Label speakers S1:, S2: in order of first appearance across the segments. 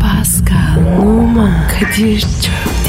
S1: Pascal, Oman, Kadir çok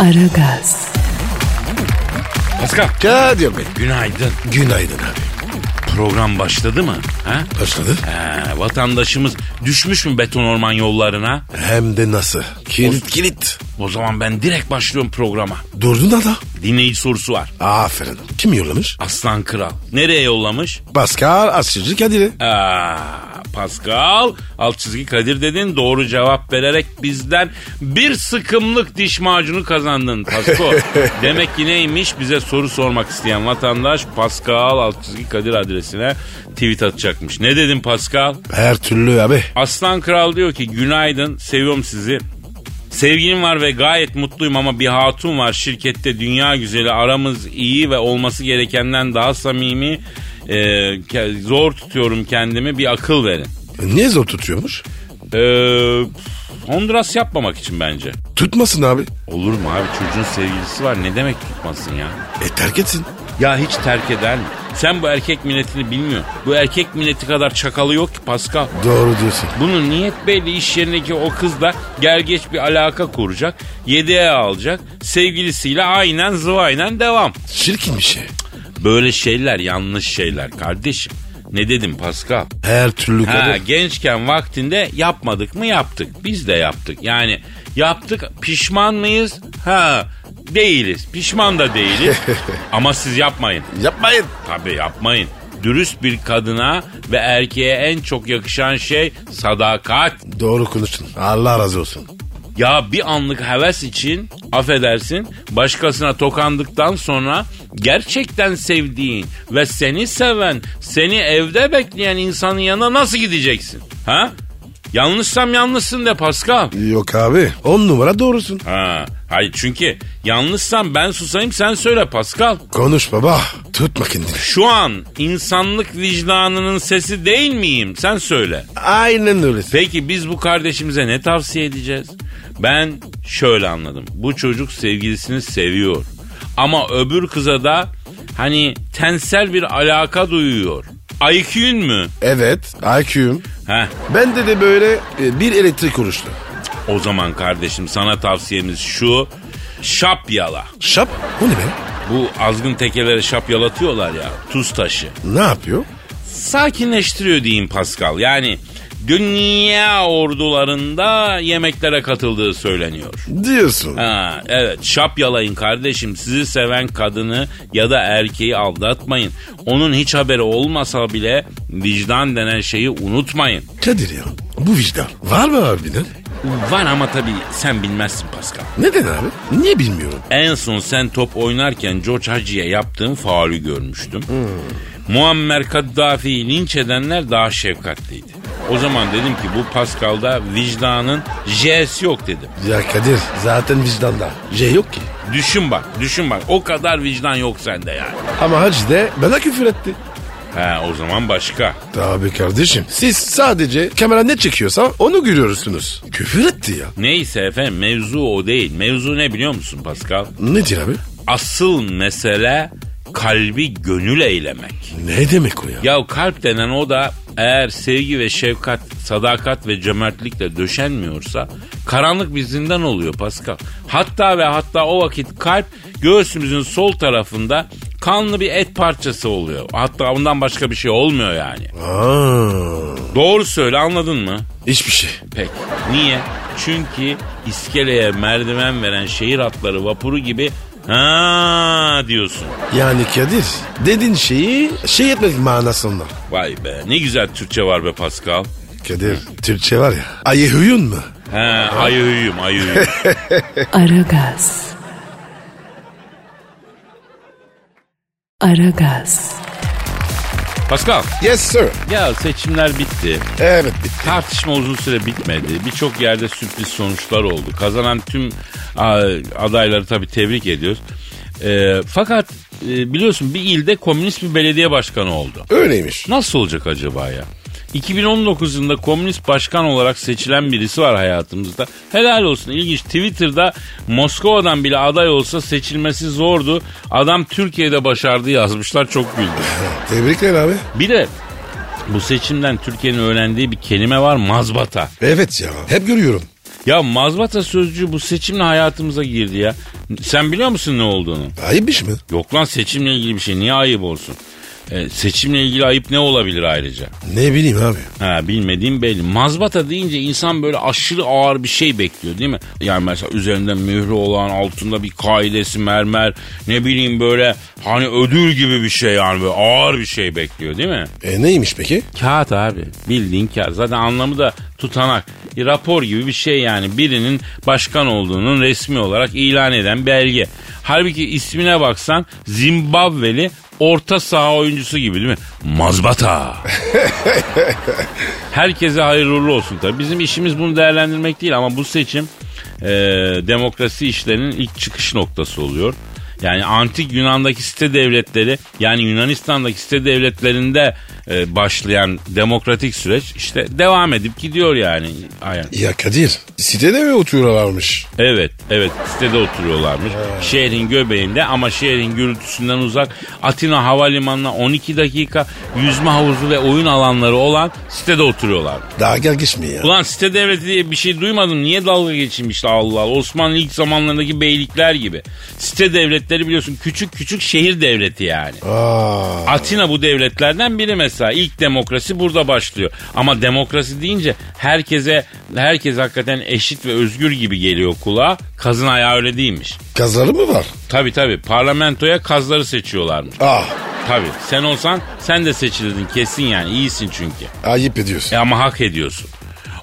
S1: Aragaz,
S2: Pascal.
S3: Kadir Bey.
S2: Günaydın.
S3: Günaydın abi.
S2: Program başladı mı? Ha?
S3: Başladı.
S2: He, vatandaşımız düşmüş mü beton orman yollarına?
S3: Hem de nasıl? Kilit kilit.
S2: O zaman ben direkt başlıyorum programa.
S3: Durdun da da.
S2: Dinleyici sorusu var.
S3: Aferin. Kim yollamış?
S2: Aslan Kral. Nereye yollamış?
S3: Pascal Asçıcı Kadir'i.
S2: Aa, Pascal alt çizgi Kadir dedin doğru cevap vererek bizden bir sıkımlık diş macunu kazandın Pasko. Demek ki neymiş bize soru sormak isteyen vatandaş Pascal alt çizgi Kadir adresine tweet atacakmış. Ne dedin Pascal?
S3: Her türlü abi.
S2: Aslan Kral diyor ki günaydın seviyorum sizi. Sevgilim var ve gayet mutluyum ama bir hatun var şirkette dünya güzeli aramız iyi ve olması gerekenden daha samimi Ee, ke- zor tutuyorum kendimi bir akıl verin.
S3: Niye zor tutuyormuş?
S2: Ee, Honduras yapmamak için bence.
S3: Tutmasın abi.
S2: Olur mu abi çocuğun sevgilisi var ne demek tutmasın ya?
S3: E terk etsin.
S2: Ya hiç terk eder mi? Sen bu erkek milletini bilmiyorsun. Bu erkek milleti kadar çakalı yok ki Pascal.
S3: Doğru diyorsun.
S2: Bunun niyet belli iş yerindeki o kızla gel geç bir alaka kuracak. Yedeğe alacak. Sevgilisiyle aynen zıvaynen devam.
S3: Çirkin bir şey.
S2: Böyle şeyler yanlış şeyler kardeşim. Ne dedim Pascal?
S3: Her türlü
S2: Ha,
S3: kadın.
S2: gençken vaktinde yapmadık mı yaptık. Biz de yaptık. Yani yaptık pişman mıyız? Ha değiliz. Pişman da değiliz. Ama siz yapmayın.
S3: Yapmayın.
S2: Tabii yapmayın. Dürüst bir kadına ve erkeğe en çok yakışan şey sadakat.
S3: Doğru konuştun. Allah razı olsun.
S2: Ya bir anlık heves için affedersin başkasına tokandıktan sonra gerçekten sevdiğin ve seni seven, seni evde bekleyen insanın yanına nasıl gideceksin? Ha? Yanlışsam yanlışsın de Pascal.
S3: Yok abi. On numara doğrusun.
S2: Ha, hayır çünkü yanlışsam ben susayım sen söyle Pascal.
S3: Konuş baba. Tutma kendini.
S2: Şu an insanlık vicdanının sesi değil miyim? Sen söyle.
S3: Aynen öyle.
S2: Peki biz bu kardeşimize ne tavsiye edeceğiz? Ben şöyle anladım. Bu çocuk sevgilisini seviyor. Ama öbür kıza da hani tensel bir alaka duyuyor. IQ'un mü?
S3: Evet. IQ'yum.
S2: Heh.
S3: Bende de böyle e, bir elektrik oluştu.
S2: O zaman kardeşim sana tavsiyemiz şu. Şap yala.
S3: Şap. O ne be?
S2: Bu azgın tekelere şap yalatıyorlar ya. Tuz taşı.
S3: Ne yapıyor?
S2: sakinleştiriyor diyeyim Pascal. Yani dünya ordularında yemeklere katıldığı söyleniyor.
S3: Diyorsun.
S2: Ha, evet şap yalayın kardeşim sizi seven kadını ya da erkeği aldatmayın. Onun hiç haberi olmasa bile vicdan denen şeyi unutmayın.
S3: Kadir ya. Bu vicdan. Var mı harbiden?
S2: Var ama tabii sen bilmezsin Pascal.
S3: Neden abi? Niye bilmiyorum.
S2: En son sen top oynarken George Hacı'ya yaptığın faulü görmüştüm. Muammer Kaddafi'yi linç edenler daha şefkatliydi. O zaman dedim ki bu Pascal'da vicdanın J'si yok dedim.
S3: Ya Kadir zaten vicdanda. J yok ki.
S2: Düşün bak, düşün bak. O kadar vicdan yok sende yani.
S3: Ama Hacı de bana küfür etti.
S2: He o zaman başka.
S3: Tabii kardeşim. Siz sadece kamera ne çekiyorsa onu görüyorsunuz. Küfür etti ya.
S2: Neyse efendim mevzu o değil. Mevzu ne biliyor musun Pascal?
S3: Nedir abi?
S2: Asıl mesele kalbi gönül eylemek.
S3: Ne demek o ya?
S2: Ya kalp denen o da eğer sevgi ve şefkat, sadakat ve cömertlikle döşenmiyorsa karanlık bir zindan oluyor Pascal. Hatta ve hatta o vakit kalp göğsümüzün sol tarafında kanlı bir et parçası oluyor. Hatta ondan başka bir şey olmuyor yani.
S3: Aa,
S2: Doğru söyle anladın mı?
S3: hiçbir şey.
S2: Peki. Niye? Çünkü iskeleye merdiven veren şehir atları vapuru gibi ha diyorsun.
S3: Yani Kadir dedin şeyi şey etmedik manasında.
S2: Vay be ne güzel Türkçe var be Pascal.
S3: Kadir Türkçe var ya. Ayı huyun mu?
S2: He ayı huyum ayı huyum.
S1: Aragaz. Aragaz,
S2: Pascal
S3: Yes sir.
S2: ya seçimler bitti.
S3: Evet bitti.
S2: Tartışma uzun süre bitmedi. Birçok yerde sürpriz sonuçlar oldu. Kazanan tüm a, adayları tabii tebrik ediyoruz. E, fakat e, biliyorsun bir ilde komünist bir belediye başkanı oldu.
S3: Öyleymiş.
S2: Nasıl olacak acaba ya? 2019 yılında komünist başkan olarak seçilen birisi var hayatımızda. Helal olsun ilginç. Twitter'da Moskova'dan bile aday olsa seçilmesi zordu. Adam Türkiye'de başardı yazmışlar çok güldüm.
S3: Tebrikler abi.
S2: Bir de bu seçimden Türkiye'nin öğrendiği bir kelime var mazbata.
S3: Evet ya. Hep görüyorum.
S2: Ya mazbata sözcüğü bu seçimle hayatımıza girdi ya. Sen biliyor musun ne olduğunu?
S3: Ayıpmış mı?
S2: Yok lan seçimle ilgili bir şey niye ayıp olsun? Ee, seçimle ilgili ayıp ne olabilir ayrıca?
S3: Ne bileyim abi.
S2: Ha bilmediğim belli. Mazbata deyince insan böyle aşırı ağır bir şey bekliyor değil mi? Yani mesela üzerinde mührü olan altında bir kaidesi mermer ne bileyim böyle hani ödül gibi bir şey yani böyle ağır bir şey bekliyor değil mi?
S3: E neymiş peki?
S2: Kağıt abi bildiğin kağıt. Zaten anlamı da tutanak. E, rapor gibi bir şey yani birinin başkan olduğunun resmi olarak ilan eden belge. Halbuki ismine baksan Zimbabveli orta saha oyuncusu gibi değil mi? Mazbata. Herkese hayırlı uğurlu olsun tabii. Bizim işimiz bunu değerlendirmek değil ama bu seçim e, demokrasi işlerinin ilk çıkış noktası oluyor. Yani antik Yunan'daki site devletleri yani Yunanistan'daki site devletlerinde e, başlayan demokratik süreç işte devam edip gidiyor yani. Aynen.
S3: Ya Kadir sitede mi oturuyorlarmış?
S2: Evet, evet sitede oturuyorlarmış. Şehrin göbeğinde ama şehrin gürültüsünden uzak Atina Havalimanı'na 12 dakika yüzme havuzu ve oyun alanları olan sitede oturuyorlar.
S3: Daha gel geçmiyor ya.
S2: Ulan site devleti diye bir şey duymadım. Niye dalga geçilmişti Allah Allah. Osmanlı ilk zamanlarındaki beylikler gibi. Site devletleri biliyorsun küçük küçük şehir devleti yani.
S3: Aa,
S2: Atina bu devletlerden biri mesela. İlk demokrasi burada başlıyor. Ama demokrasi deyince herkese herkes hakikaten eşit ve özgür gibi geliyor kulağa. Kazın ayağı öyle değilmiş.
S3: kazları mı var?
S2: Tabi tabi parlamentoya kazları seçiyorlarmış.
S3: Ah
S2: Tabi sen olsan sen de seçilirdin kesin yani iyisin çünkü.
S3: ayıp ediyorsun.
S2: E ama hak ediyorsun.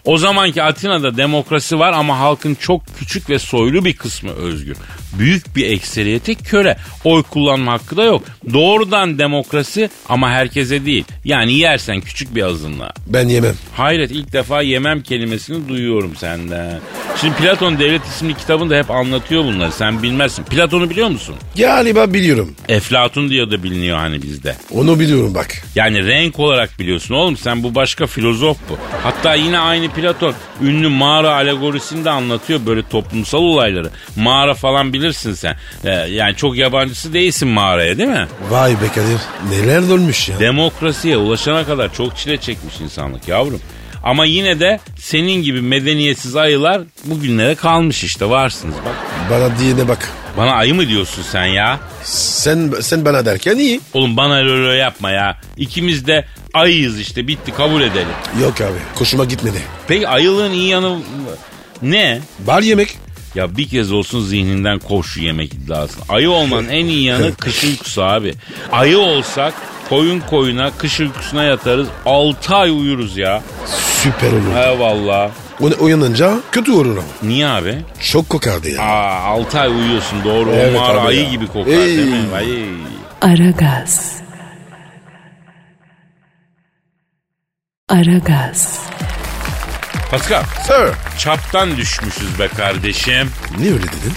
S2: O zamanki Atina'da demokrasi var ama halkın çok küçük ve soylu bir kısmı özgür. Büyük bir ekseriyeti köre. Oy kullanma hakkı da yok. Doğrudan demokrasi ama herkese değil. Yani yersen küçük bir azınlığa.
S3: Ben yemem.
S2: Hayret ilk defa yemem kelimesini duyuyorum senden. Şimdi Platon Devlet isimli kitabında hep anlatıyor bunları. Sen bilmezsin. Platon'u biliyor musun?
S3: Galiba biliyorum.
S2: Eflatun diye de biliniyor hani bizde.
S3: Onu biliyorum bak.
S2: Yani renk olarak biliyorsun oğlum sen bu başka filozof bu. Hatta yine aynı Platon ünlü mağara alegorisini de anlatıyor böyle toplumsal olayları. Mağara falan bilirsin sen. Ee, yani çok yabancısı değilsin mağaraya değil mi?
S3: Vay be Kadir. Neler dönmüş ya.
S2: Demokrasiye ulaşana kadar çok çile çekmiş insanlık yavrum. Ama yine de senin gibi medeniyetsiz ayılar bugünlere kalmış işte varsınız bak.
S3: Bana diyene bak.
S2: Bana ayı mı diyorsun sen ya?
S3: Sen sen bana derken iyi.
S2: Oğlum bana lolo yapma ya. İkimiz de ayıyız işte bitti kabul edelim.
S3: Yok abi. Koşuma gitmedi.
S2: Peki ayılığın iyi yanı ne?
S3: Bal yemek.
S2: Ya bir kez olsun zihninden koş şu yemek iddiasını. Ayı olmanın en iyi yanı kış uykusu abi. Ayı olsak koyun koyuna kış uykusuna yatarız 6 ay uyuruz ya.
S3: Süper olur.
S2: He valla.
S3: Onu uyanınca kötü olur ama.
S2: Niye abi?
S3: Çok kokardı ya.
S2: Aa 6 ay uyuyorsun doğru.
S3: Evet
S2: o mağara
S3: abi
S2: ayı
S3: ya.
S2: gibi kokar
S3: Ey.
S2: değil mi? Ay.
S1: Aragaz. Aragaz.
S2: Pascal
S3: Sir.
S2: çaptan düşmüşüz be kardeşim.
S3: Niye öyle dedin?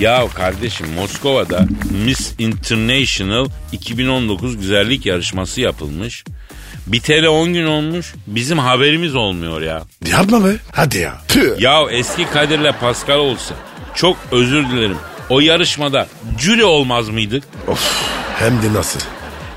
S2: Ya kardeşim Moskova'da Miss International 2019 güzellik yarışması yapılmış. Biteli 10 gün olmuş. Bizim haberimiz olmuyor ya.
S3: Yapma be. Hadi ya. Tüh.
S2: Ya eski Kadir'le Pascal olsa çok özür dilerim. O yarışmada jüri olmaz mıydık?
S3: Of. Hem de nasıl?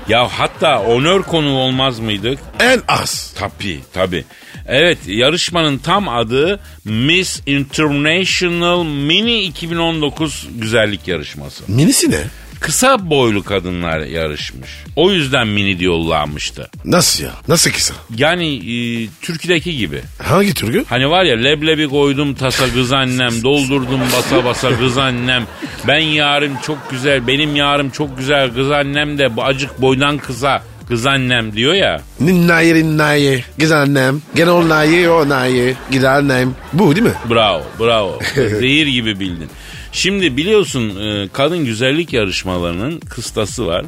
S2: Ya hatta onör konuğu olmaz mıydık?
S3: En az.
S2: Tabii tabii. Evet yarışmanın tam adı Miss International Mini 2019 güzellik yarışması.
S3: Minisi ne?
S2: Kısa boylu kadınlar yarışmış. O yüzden mini diyorlarmıştı.
S3: Nasıl ya? Nasıl kısa?
S2: Yani e, türküdeki gibi.
S3: Hangi türkü?
S2: Hani var ya leblebi koydum tasa kız annem, doldurdum basa basa kız annem. Ben yarım çok güzel, benim yarım çok güzel kız annem de bu acık boydan kısa kız annem diyor ya.
S3: Ninnaye ninnaye. Güzel annem. Gene o naye o naye. Gider annem. Bu değil mi?
S2: Bravo, bravo. Zehir gibi bildin. Şimdi biliyorsun e, kadın güzellik yarışmalarının kıstası var.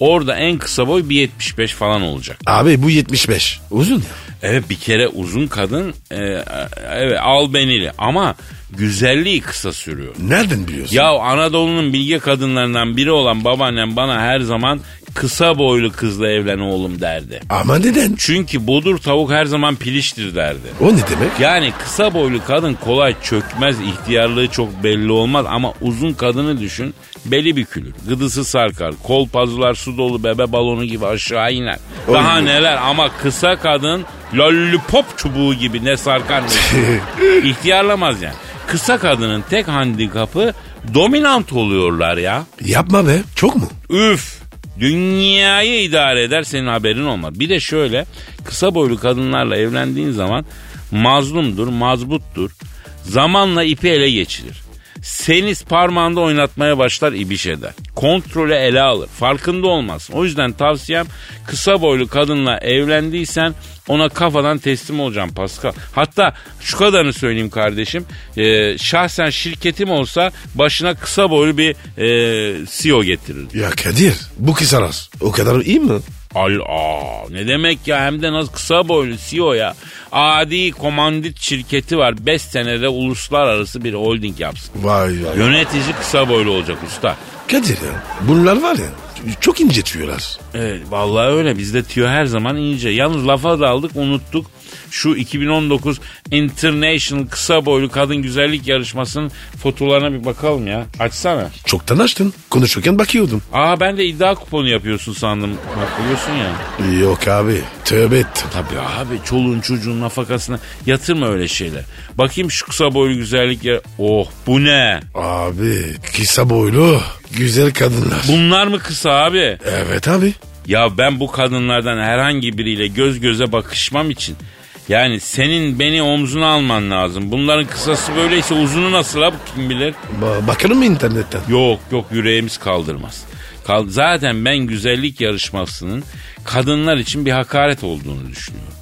S2: Orada en kısa boy 1.75 falan olacak.
S3: Abi bu 75. Uzun ya.
S2: Evet bir kere uzun kadın e, evet albenili ama güzelliği kısa sürüyor.
S3: Nereden biliyorsun?
S2: Ya Anadolu'nun bilge kadınlarından biri olan babaannem bana her zaman kısa boylu kızla evlen oğlum derdi.
S3: Ama neden?
S2: Çünkü bodur tavuk her zaman piliştir derdi.
S3: O ne demek?
S2: Yani kısa boylu kadın kolay çökmez, ihtiyarlığı çok belli olmaz ama uzun kadını düşün, beli bükülür, gıdısı sarkar, kol pazular su dolu bebe balonu gibi aşağı iner.
S3: Oy.
S2: Daha neler ama kısa kadın lollipop çubuğu gibi ne sarkar ne çöker. İhtiyarlamaz yani. Kısa kadının tek handikapı dominant oluyorlar ya.
S3: Yapma be. Çok mu?
S2: Üf. Dünyayı idare eder senin haberin olmaz. Bir de şöyle kısa boylu kadınlarla evlendiğin zaman mazlumdur, mazbuttur. Zamanla ipi ele geçirir. Seniz parmağında oynatmaya başlar ibiş eder. Kontrolü ele alır. Farkında olmazsın. O yüzden tavsiyem kısa boylu kadınla evlendiysen ona kafadan teslim olacaksın Pascal. Hatta şu kadarını söyleyeyim kardeşim. Ee, şahsen şirketim olsa başına kısa boylu bir e, CEO getirirdim.
S3: Ya Kadir bu kisaras. O kadar iyi mi?
S2: Al aa, ne demek ya hem de nasıl kısa boylu CEO ya. Adi komandit şirketi var 5 senede uluslararası bir holding yapsın.
S3: Vay vay.
S2: Yönetici kısa boylu olacak usta.
S3: Kadir ya bunlar var ya çok incitiyorlar.
S2: Evet vallahi öyle bizde tüyo her zaman ince. Yalnız lafa daldık unuttuk. Şu 2019 International Kısa Boylu Kadın Güzellik Yarışması'nın fotolarına bir bakalım ya. Açsana.
S3: Çoktan açtın. Konuşurken bakıyordum.
S2: Aa ben de iddia kuponu yapıyorsun sandım. Bak biliyorsun ya.
S3: Yok abi tövbe ettim.
S2: Tabii abi çoluğun çocuğun nafakasına yatırma öyle şeyler. Bakayım şu kısa boylu güzellik ya. Oh bu ne?
S3: Abi kısa boylu güzel kadınlar.
S2: Bunlar mı kısa abi?
S3: Evet abi.
S2: Ya ben bu kadınlardan herhangi biriyle göz göze bakışmam için yani senin beni omzuna alman lazım. Bunların kısası böyleyse uzunu nasıl abi kim bilir?
S3: Ba- bakarım mı internetten?
S2: Yok yok yüreğimiz kaldırmaz. Kal- Zaten ben güzellik yarışmasının kadınlar için bir hakaret olduğunu düşünüyorum.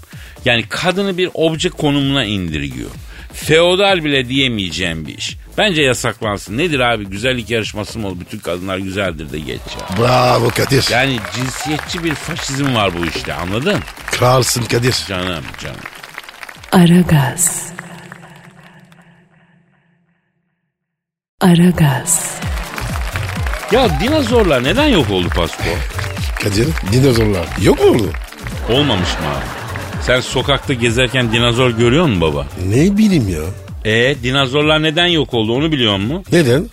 S2: Yani kadını bir obje konumuna indirgiyor. Feodal bile diyemeyeceğim bir iş. Bence yasaklansın. Nedir abi güzellik yarışması mı olur? Bütün kadınlar güzeldir de geç ya.
S3: Bravo Kadir.
S2: Yani cinsiyetçi bir faşizm var bu işte anladın?
S3: Kralsın Kadir.
S2: Canım canım.
S1: Aragaz. Aragaz.
S2: Ya dinozorlar neden yok oldu Pasko?
S3: Kadir dinozorlar yok mu oldu?
S2: Olmamış mı abi? Sen sokakta gezerken dinozor görüyor musun baba?
S3: Ne bileyim ya.
S2: E dinozorlar neden yok oldu onu biliyor musun?
S3: Neden?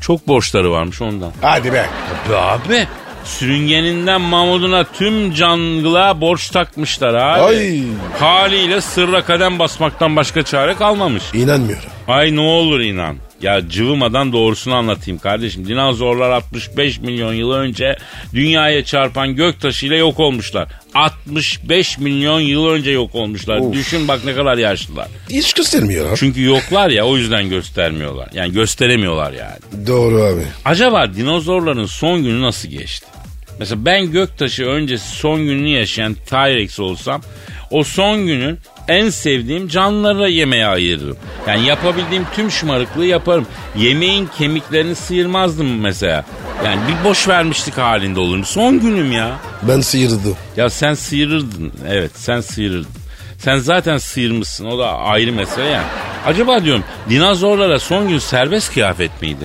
S2: Çok borçları varmış ondan.
S3: Hadi be.
S2: Abi abi sürüngeninden mamuduna tüm cangla borç takmışlar abi.
S3: Ay.
S2: Haliyle sırra kadem basmaktan başka çare kalmamış.
S3: İnanmıyorum.
S2: Ay ne olur inan. Ya cıvımadan doğrusunu anlatayım kardeşim. Dinozorlar 65 milyon yıl önce dünyaya çarpan gök taşıyla yok olmuşlar. 65 milyon yıl önce yok olmuşlar. Düşün bak ne kadar yaşlılar.
S3: Hiç göstermiyor ha.
S2: Çünkü yoklar ya o yüzden göstermiyorlar. Yani gösteremiyorlar yani.
S3: Doğru abi.
S2: Acaba dinozorların son günü nasıl geçti? Mesela ben göktaşı öncesi son gününü yaşayan T-Rex olsam o son günün en sevdiğim canlılara yemeğe ayırırım. Yani yapabildiğim tüm şımarıklığı yaparım. Yemeğin kemiklerini sıyırmazdım mesela. Yani bir boş vermişlik halinde olurum. Son günüm ya.
S3: Ben sıyırdım.
S2: Ya sen sıyırırdın. Evet sen sıyırırdın. Sen zaten sıyırmışsın o da ayrı mesele yani. Acaba diyorum dinozorlara son gün serbest kıyafet miydi?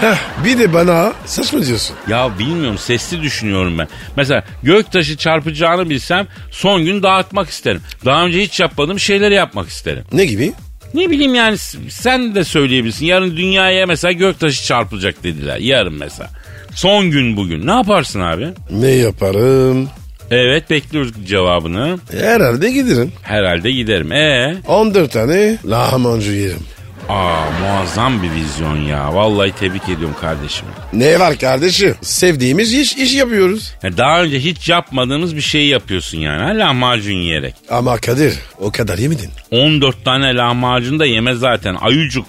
S3: Heh, bir de bana saçma diyorsun.
S2: Ya bilmiyorum sesli düşünüyorum ben. Mesela göktaşı çarpacağını bilsem son gün dağıtmak isterim. Daha önce hiç yapmadığım şeyleri yapmak isterim.
S3: Ne gibi?
S2: Ne bileyim yani s- sen de söyleyebilirsin. Yarın dünyaya mesela göktaşı çarpılacak dediler. Yarın mesela. Son gün bugün. Ne yaparsın abi?
S3: Ne yaparım?
S2: Evet bekliyoruz cevabını.
S3: Herhalde giderim.
S2: Herhalde giderim. E
S3: 14 tane lahmacun yerim.
S2: Aa muazzam bir vizyon ya. Vallahi tebrik ediyorum kardeşim.
S3: Ne var kardeşim? Sevdiğimiz iş, iş yapıyoruz.
S2: Ya daha önce hiç yapmadığımız bir şeyi yapıyorsun yani. Ha, Lahmacun yiyerek.
S3: Ama Kadir o kadar yemedin.
S2: 14 tane lahmacun da yeme zaten. Ayucuk.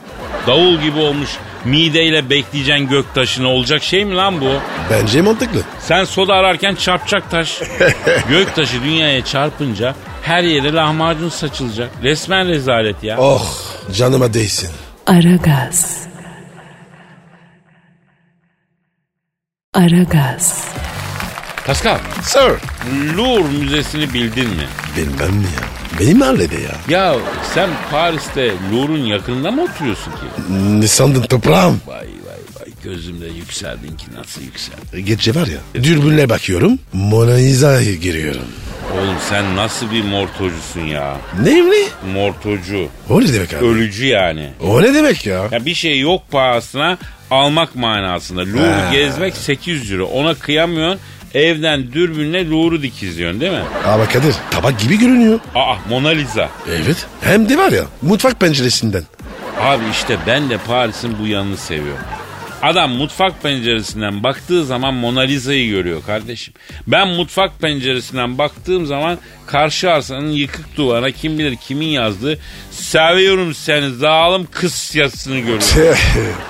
S2: Davul gibi olmuş. Mideyle bekleyeceksin göktaşını. Olacak şey mi lan bu?
S3: Bence mantıklı.
S2: Sen soda ararken çarpacak taş. Göktaşı dünyaya çarpınca her yere lahmacun saçılacak. Resmen rezalet ya.
S3: Oh canıma değsin.
S1: Aragaz. Aragaz.
S2: Pascal,
S3: Sir.
S2: Louvre Müzesi'ni bildin mi?
S3: Benim ben mi ya? Benim mahallede ya.
S2: Ya sen Paris'te Louvre'un yakınında mı oturuyorsun ki?
S3: Ne sandın toprağım?
S2: Vay vay vay gözümde yükseldin ki nasıl yükseldin?
S3: Gece var ya. Dürbünle bakıyorum. Mona Lisa'ya giriyorum.
S2: Oğlum sen nasıl bir mortocusun ya?
S3: Neyim ne?
S2: Mortocu.
S3: O ne demek abi?
S2: Ölücü yani.
S3: O ne demek ya?
S2: Ya bir şey yok pahasına almak manasında. Louvre
S3: Ha.
S2: gezmek 800 euro. Ona kıyamıyorsun. Evden dürbünle Louvre'u dikizliyorsun değil mi?
S3: Ama Kadir tabak gibi görünüyor.
S2: Aa Mona Lisa.
S3: Evet. Hem de var ya mutfak penceresinden.
S2: Abi işte ben de Paris'in bu yanını seviyorum. Adam mutfak penceresinden baktığı zaman Mona Lisa'yı görüyor kardeşim. Ben mutfak penceresinden baktığım zaman karşı arsanın yıkık duvarına kim bilir kimin yazdığı seviyorum seni zalim kız yazısını görüyorum.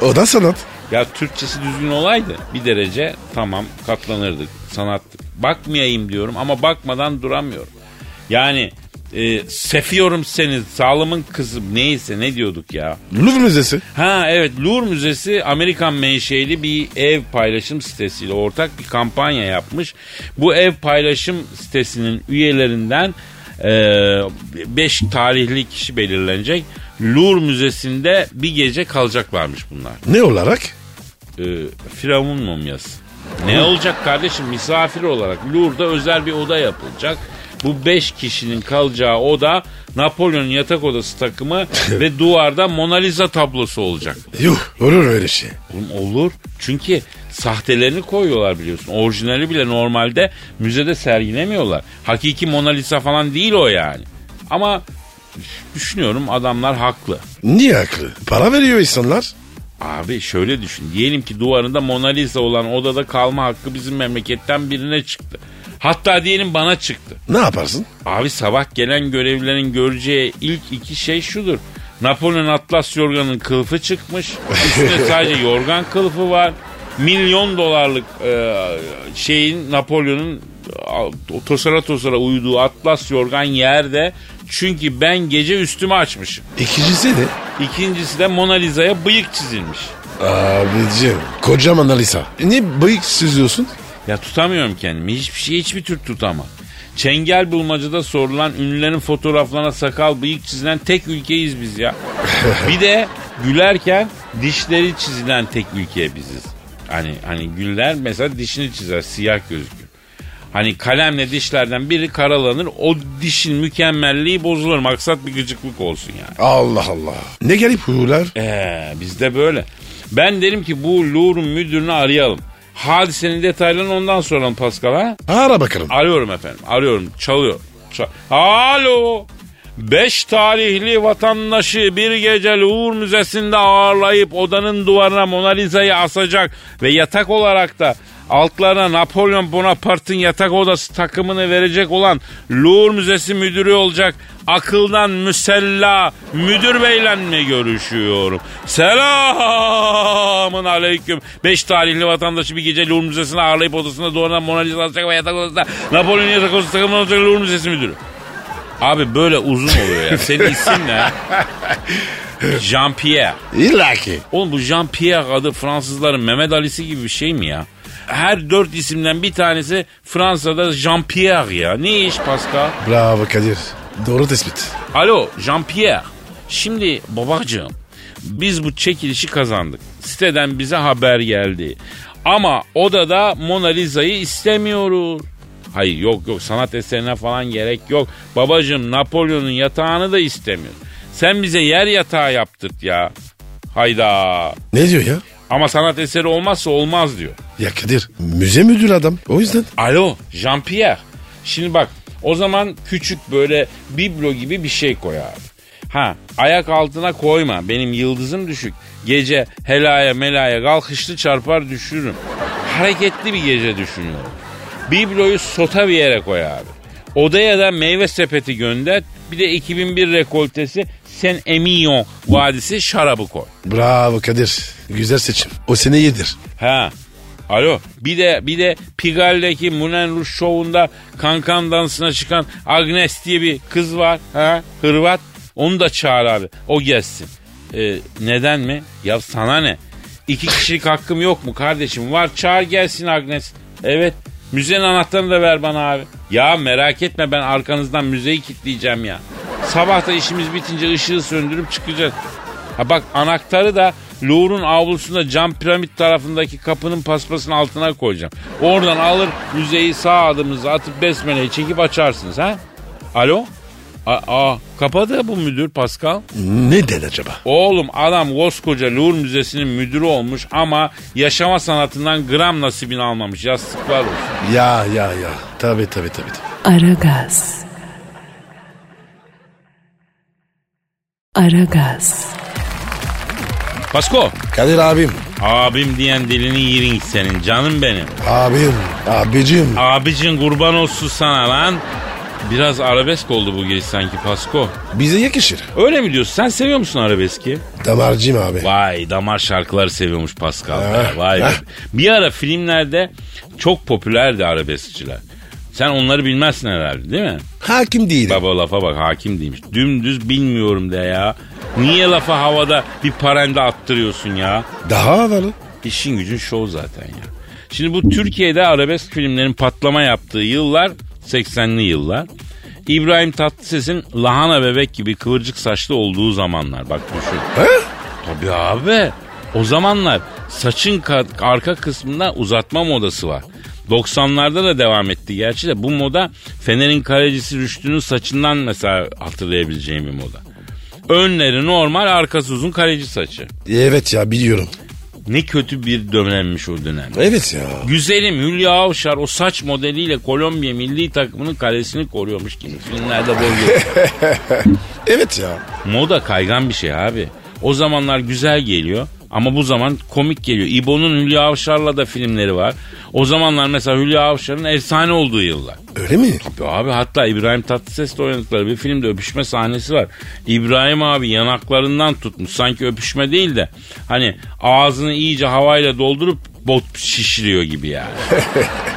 S3: o da sanat.
S2: ya Türkçesi düzgün olaydı bir derece tamam katlanırdık sanattık. Bakmayayım diyorum ama bakmadan duramıyorum. Yani e, sefiyorum seni zalimin kızı neyse ne diyorduk ya.
S3: Louvre Müzesi.
S2: Ha evet Louvre Müzesi Amerikan menşeli bir ev paylaşım sitesiyle ortak bir kampanya yapmış. Bu ev paylaşım sitesinin üyelerinden 5 tarihli kişi belirlenecek. Louvre Müzesi'nde bir gece kalacaklarmış bunlar.
S3: Ne olarak?
S2: E, Firavun mumyası. Ne olacak kardeşim misafir olarak Lourdes'da özel bir oda yapılacak. Bu 5 kişinin kalacağı oda Napolyon'un yatak odası takımı ve duvarda Mona Lisa tablosu olacak.
S3: Yuh olur öyle şey.
S2: Oğlum olur. Çünkü sahtelerini koyuyorlar biliyorsun. Orijinali bile normalde müzede sergilemiyorlar. Hakiki Mona Lisa falan değil o yani. Ama düşünüyorum adamlar haklı.
S3: Niye haklı? Para veriyor insanlar.
S2: Abi şöyle düşün. Diyelim ki duvarında Mona Lisa olan odada kalma hakkı bizim memleketten birine çıktı. Hatta diyelim bana çıktı.
S3: Ne yaparsın?
S2: Abi sabah gelen görevlilerin göreceği ilk iki şey şudur. Napolyon Atlas yorganın kılıfı çıkmış. Üstüne sadece yorgan kılıfı var. Milyon dolarlık e, şeyin Napolyon'un e, tosara tosara uyuduğu Atlas yorgan yerde. Çünkü ben gece üstümü açmışım.
S3: İkincisi de
S2: İkincisi de Mona Lisa'ya bıyık çizilmiş.
S3: abicim kocaman Alisa. Niye bıyık süzüyorsun?
S2: Ya tutamıyorum kendimi. Hiçbir şey hiçbir tür tutamam. Çengel bulmacada sorulan ünlülerin fotoğraflarına sakal bıyık çizilen tek ülkeyiz biz ya. bir de gülerken dişleri çizilen tek ülke biziz. Hani hani güller mesela dişini çizer siyah gözükür. Hani kalemle dişlerden biri karalanır o dişin mükemmelliği bozulur. Maksat bir gıcıklık olsun yani.
S3: Allah Allah. Ne garip huylar.
S2: Ee, bizde böyle. Ben derim ki bu Louvre'un müdürünü arayalım. Hadisenin detaylarını ondan soralım Pascal ha?
S3: Ara bakalım.
S2: Arıyorum efendim. Arıyorum. Çalıyor. Çal- Alo. Beş tarihli vatandaşı bir gece Louvre Müzesi'nde ağırlayıp odanın duvarına Mona Lisa'yı asacak ve yatak olarak da altlarına Napolyon Bonaparte'ın yatak odası takımını verecek olan Louvre Müzesi müdürü olacak akıldan müsella müdür beyle mi görüşüyorum? Selamın aleyküm. Beş tarihli vatandaşı bir gece Louvre Müzesi'ne ağırlayıp odasında doğrudan Mona Lisa asacak ve yatak odasında Napolyon yatak odası takımını olacak Louvre Müzesi müdürü. Abi böyle uzun oluyor yani. Senin isim ne? Jean Pierre.
S3: İlla ki.
S2: Oğlum bu Jean Pierre adı Fransızların Mehmet Ali'si gibi bir şey mi ya? Her dört isimden bir tanesi Fransa'da Jean Pierre ya. Ne iş Pascal?
S3: Bravo Kadir. Doğru tespit.
S2: Alo Jean-Pierre. Şimdi babacığım biz bu çekilişi kazandık. Siteden bize haber geldi. Ama odada Mona Lisa'yı istemiyoruz. Hayır yok yok sanat eserine falan gerek yok. Babacığım Napolyon'un yatağını da istemiyor. Sen bize yer yatağı yaptırt ya. Hayda.
S3: Ne diyor ya?
S2: Ama sanat eseri olmazsa olmaz diyor.
S3: Ya Kadir müze müdürü adam. O yüzden.
S2: Alo Jean-Pierre. Şimdi bak o zaman küçük böyle biblo gibi bir şey koy abi. Ha ayak altına koyma benim yıldızım düşük. Gece helaya melaya kalkışlı çarpar düşürürüm. Hareketli bir gece düşünüyorum. Bibloyu sota bir yere koy abi. Odaya da meyve sepeti gönder. Bir de 2001 rekoltesi Sen Emillon Vadisi şarabı koy.
S3: Bravo Kadir. Güzel seçim. O seni yedir.
S2: Ha. Alo. Bir de bir de Pigal'deki Moulin Rouge şovunda kankan dansına çıkan Agnes diye bir kız var. Ha? Hırvat. Onu da çağır abi. O gelsin. Ee, neden mi? Ya sana ne? İki kişilik hakkım yok mu kardeşim? Var çağır gelsin Agnes. Evet. Müzenin anahtarını da ver bana abi. Ya merak etme ben arkanızdan müzeyi kilitleyeceğim ya. Sabah da işimiz bitince ışığı söndürüp çıkacağız. Ha bak anahtarı da Louvre'un avlusunda cam piramit tarafındaki kapının paspasının altına koyacağım. Oradan alır müzeyi sağ adımınıza atıp besmeleyi çekip açarsınız ha. Alo? Aa, aa, kapadı bu müdür Pascal.
S3: Neden acaba?
S2: Oğlum adam koskoca Louvre Müzesi'nin müdürü olmuş ama yaşama sanatından gram nasibini almamış. Yastıklar olsun.
S3: Ya ya ya. Tabii tabii tabii. tabii.
S1: Aragaz. Aragaz.
S2: Pasko,
S3: Kadir abim.
S2: abim diyen dilini yirin senin canım benim.
S3: Abim. Abicim.
S2: Abicin kurban olsun sana lan. Biraz arabesk oldu bu giriş sanki Pasko.
S3: Bize yakışır.
S2: Öyle mi diyorsun? Sen seviyor musun arabeski?
S3: Damarcım abi.
S2: Vay damar şarkıları seviyormuş Pascal. be,
S3: Ah,
S2: Vay be.
S3: ah.
S2: Bir ara filmlerde çok popülerdi arabeskçiler. Sen onları bilmezsin herhalde değil mi?
S3: Hakim değilim.
S2: Baba lafa bak hakim değilmiş. Dümdüz bilmiyorum de ya. Niye lafa havada bir parende attırıyorsun ya?
S3: Daha havalı.
S2: İşin gücün şov zaten ya. Şimdi bu Türkiye'de arabesk filmlerin patlama yaptığı yıllar 80'li yıllar. İbrahim Tatlıses'in lahana bebek gibi kıvırcık saçlı olduğu zamanlar bak düşün.
S3: He?
S2: Tabii abi. O zamanlar saçın ka- arka kısmında uzatma modası var. 90'larda da devam etti gerçi de bu moda Fener'in kalecisi Rüştü'nün saçından mesela hatırlayabileceğim bir moda. Önleri normal arkası uzun kaleci saçı.
S3: Evet ya biliyorum.
S2: Ne kötü bir dönemmiş o dönem.
S3: Evet ya.
S2: Güzelim Hülya Avşar o saç modeliyle Kolombiya milli takımının kalesini koruyormuş gibi filmlerde boy
S3: Evet ya.
S2: Moda kaygan bir şey abi. O zamanlar güzel geliyor ama bu zaman komik geliyor. İbo'nun Hülya Avşar'la da filmleri var. O zamanlar mesela Hülya Avşar'ın efsane olduğu yıllar.
S3: Öyle mi?
S2: Ya abi hatta İbrahim Tatlıses'le oynadıkları bir filmde öpüşme sahnesi var. İbrahim abi yanaklarından tutmuş. Sanki öpüşme değil de hani ağzını iyice havayla doldurup bot şişiriyor gibi yani.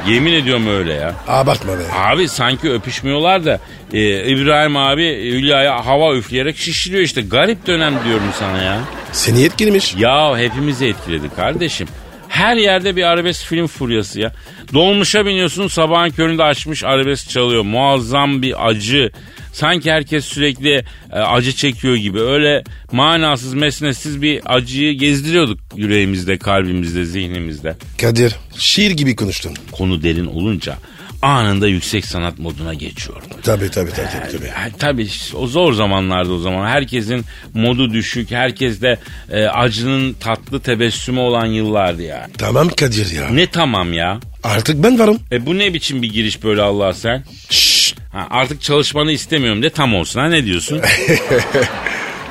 S2: Yemin ediyorum öyle ya.
S3: Abartma be.
S2: Abi sanki öpüşmüyorlar da e, İbrahim abi Hülya'ya hava üfleyerek şişiriyor işte. Garip dönem diyorum sana ya.
S3: Seni etkilmiş.
S2: Ya hepimizi etkiledi kardeşim. Her yerde bir arabesk film furyası ya. Dolmuşa biniyorsun sabahın köründe açmış arabesk çalıyor. Muazzam bir acı. Sanki herkes sürekli e, acı çekiyor gibi. Öyle manasız mesnetsiz bir acıyı gezdiriyorduk yüreğimizde, kalbimizde, zihnimizde.
S3: Kadir şiir gibi konuştun.
S2: Konu derin olunca anında yüksek sanat moduna geçiyorum.
S3: Tabii tabii tabii tabii. tabii.
S2: Ha, Tabii işte o zor zamanlarda o zaman. Herkesin modu düşük, herkes de e, acının tatlı tebessümü olan yıllardı ya.
S3: Tamam Kadir ya.
S2: Ne tamam ya?
S3: Artık ben varım.
S2: E bu ne biçim bir giriş böyle Allah sen?
S3: Şşş.
S2: Ha, artık çalışmanı istemiyorum de tam olsun ha ne diyorsun?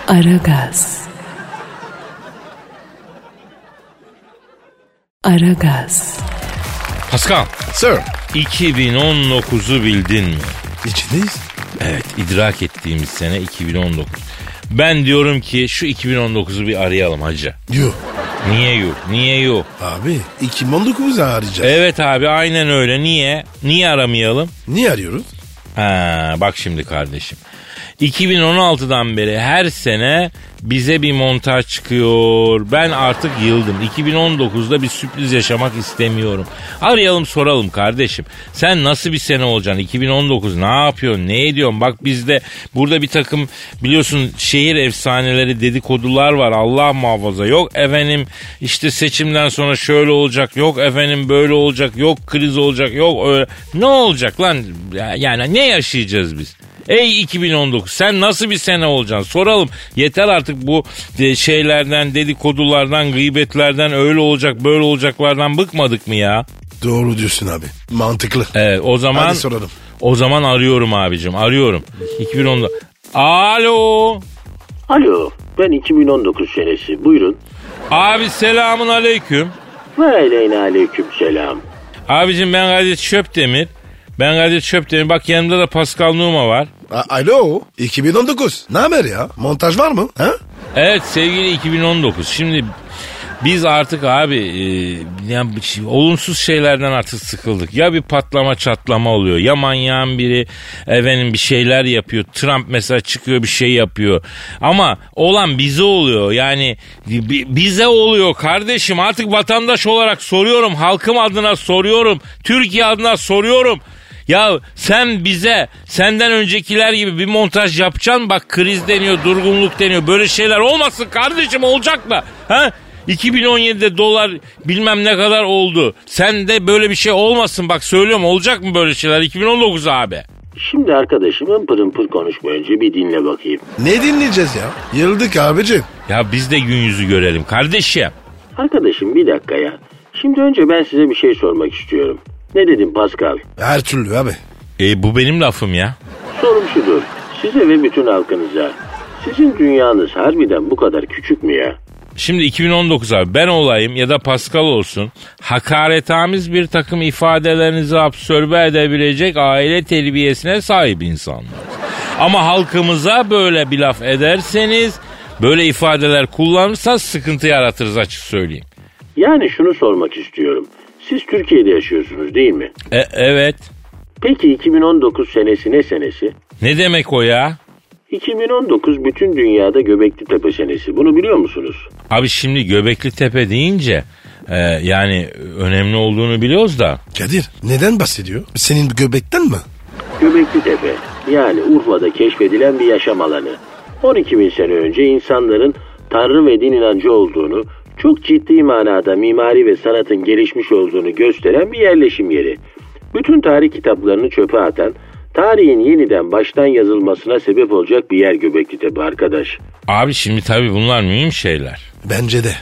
S1: Aragaz. Aragaz.
S2: Pascal
S3: Sir.
S2: 2019'u bildin mi?
S3: İçindeyiz.
S2: Evet idrak ettiğimiz sene 2019. Ben diyorum ki şu 2019'u bir arayalım hacı.
S3: Yok.
S2: Niye yok? Niye yok?
S3: Abi 2019 arayacağız.
S2: Evet abi aynen öyle. Niye? Niye aramayalım?
S3: Niye arıyoruz?
S2: Ha, bak şimdi kardeşim. 2016'dan beri her sene bize bir montaj çıkıyor. Ben artık yıldım. 2019'da bir sürpriz yaşamak istemiyorum. Arayalım soralım kardeşim. Sen nasıl bir sene olacaksın? 2019 ne yapıyorsun? Ne ediyorsun? Bak bizde burada bir takım biliyorsun şehir efsaneleri dedikodular var. Allah muhafaza. Yok efendim işte seçimden sonra şöyle olacak. Yok efendim böyle olacak. Yok kriz olacak. Yok öyle. Ne olacak lan? Ya- Yani ne yaşayacağız biz? Ey 2019 sen nasıl bir sene olacaksın soralım. Yeter artık bu de- şeylerden, dedikodulardan, gıybetlerden, öyle olacak böyle olacaklardan bıkmadık mı ya?
S3: Doğru diyorsun abi. Mantıklı.
S2: Evet o zaman
S3: Hadi soralım.
S2: o zaman arıyorum abicim arıyorum. 2019 Alo.
S4: Alo, ben 2019 senesi. Buyurun.
S2: Abi selamun aleyküm.
S4: Ve aleyna aleyküm selam.
S2: Abicim ben Kadir Çöpdemir. Ben Kadir Çöpdemir. Bak yanımda da Pascal Numa var.
S3: A- Alo. 2019. Ne haber ya? Montaj var mı? Ha?
S2: Evet sevgili 2019. Şimdi Biz artık abi e, yani bir şey- olumsuz şeylerden artık sıkıldık. Ya bir patlama çatlama oluyor. Ya manyağın biri efendim bir şeyler yapıyor. Trump mesela çıkıyor bir şey yapıyor. Ama olan bize oluyor. Yani bi- bize oluyor kardeşim. Artık vatandaş olarak soruyorum. Halkım adına soruyorum. Türkiye adına soruyorum. Ya sen bize senden öncekiler gibi bir montaj yapacaksın bak kriz deniyor durgunluk deniyor böyle şeyler olmasın kardeşim olacak mı? Ha? 2017'de dolar bilmem ne kadar oldu. Sen de böyle bir şey olmasın bak söylüyorum olacak mı böyle şeyler 2019 abi?
S4: Şimdi arkadaşım hımpır hımpır konuşma önce bir dinle bakayım.
S3: Ne dinleyeceğiz ya? Yıldık abicim.
S2: Ya biz de gün yüzü görelim kardeşim.
S4: Arkadaşım bir dakika ya. Şimdi önce ben size bir şey sormak istiyorum. Ne dedim Pascal?
S3: Her türlü abi.
S2: E bu benim lafım ya.
S4: Sorum şudur. Size ve bütün halkınıza. Sizin dünyanız harbiden bu kadar küçük mü ya?
S2: Şimdi 2019 abi ben olayım ya da Pascal olsun hakaretamiz bir takım ifadelerinizi absorbe edebilecek aile terbiyesine sahip insanlar. Ama halkımıza böyle bir laf ederseniz böyle ifadeler kullanırsanız sıkıntı yaratırız açık söyleyeyim.
S4: Yani şunu sormak istiyorum. Siz Türkiye'de yaşıyorsunuz değil mi?
S2: E, evet
S4: Peki 2019 senesi ne senesi?
S2: ne demek o ya?
S4: 2019 bütün dünyada Göbekli Tepe senesi. Bunu biliyor musunuz?
S2: Abi şimdi Göbekli Tepe deyince e, yani önemli olduğunu biliyoruz da
S3: Kadir neden bahsediyor? Senin göbekten mi?
S4: Göbekli Tepe yani Urfa'da keşfedilen bir yaşam alanı. 12 bin sene önce insanların tanrı ve din inancı olduğunu, çok ciddi manada mimari ve sanatın gelişmiş olduğunu gösteren bir yerleşim yeri. Bütün tarih kitaplarını çöpe atan, tarihin yeniden baştan yazılmasına sebep olacak bir yer Göbekli Tepe arkadaş.
S2: abi şimdi tabii bunlar mühim şeyler.
S3: Bence de.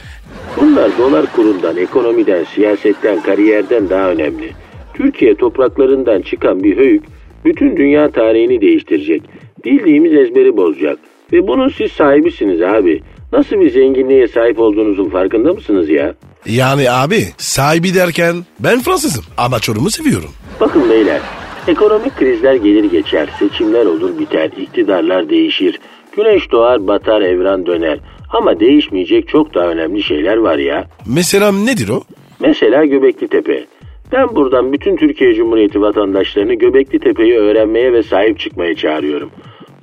S4: Bunlar dolar kurundan, ekonomiden, siyasetten, kariyerden daha önemli. Türkiye topraklarından çıkan bir höyük bütün dünya tarihini değiştirecek. Bildiğimiz ezberi bozacak. Ve bunun siz sahibisiniz abi. Nasıl bir zenginliğe sahip olduğunuzun farkında mısınız ya?
S3: Yani abi sahibi derken ben Fransızım ama Çorum'u seviyorum.
S4: Bakın beyler, ekonomik krizler gelir geçer, seçimler olur biter, iktidarlar değişir. Güneş doğar, batar, evren döner. Ama değişmeyecek çok daha önemli şeyler var ya.
S3: Mesela nedir o?
S4: Mesela Göbekli Tepe. Ben buradan bütün Türkiye Cumhuriyeti vatandaşlarını Göbekli Tepe'yi öğrenmeye ve sahip çıkmaya çağırıyorum.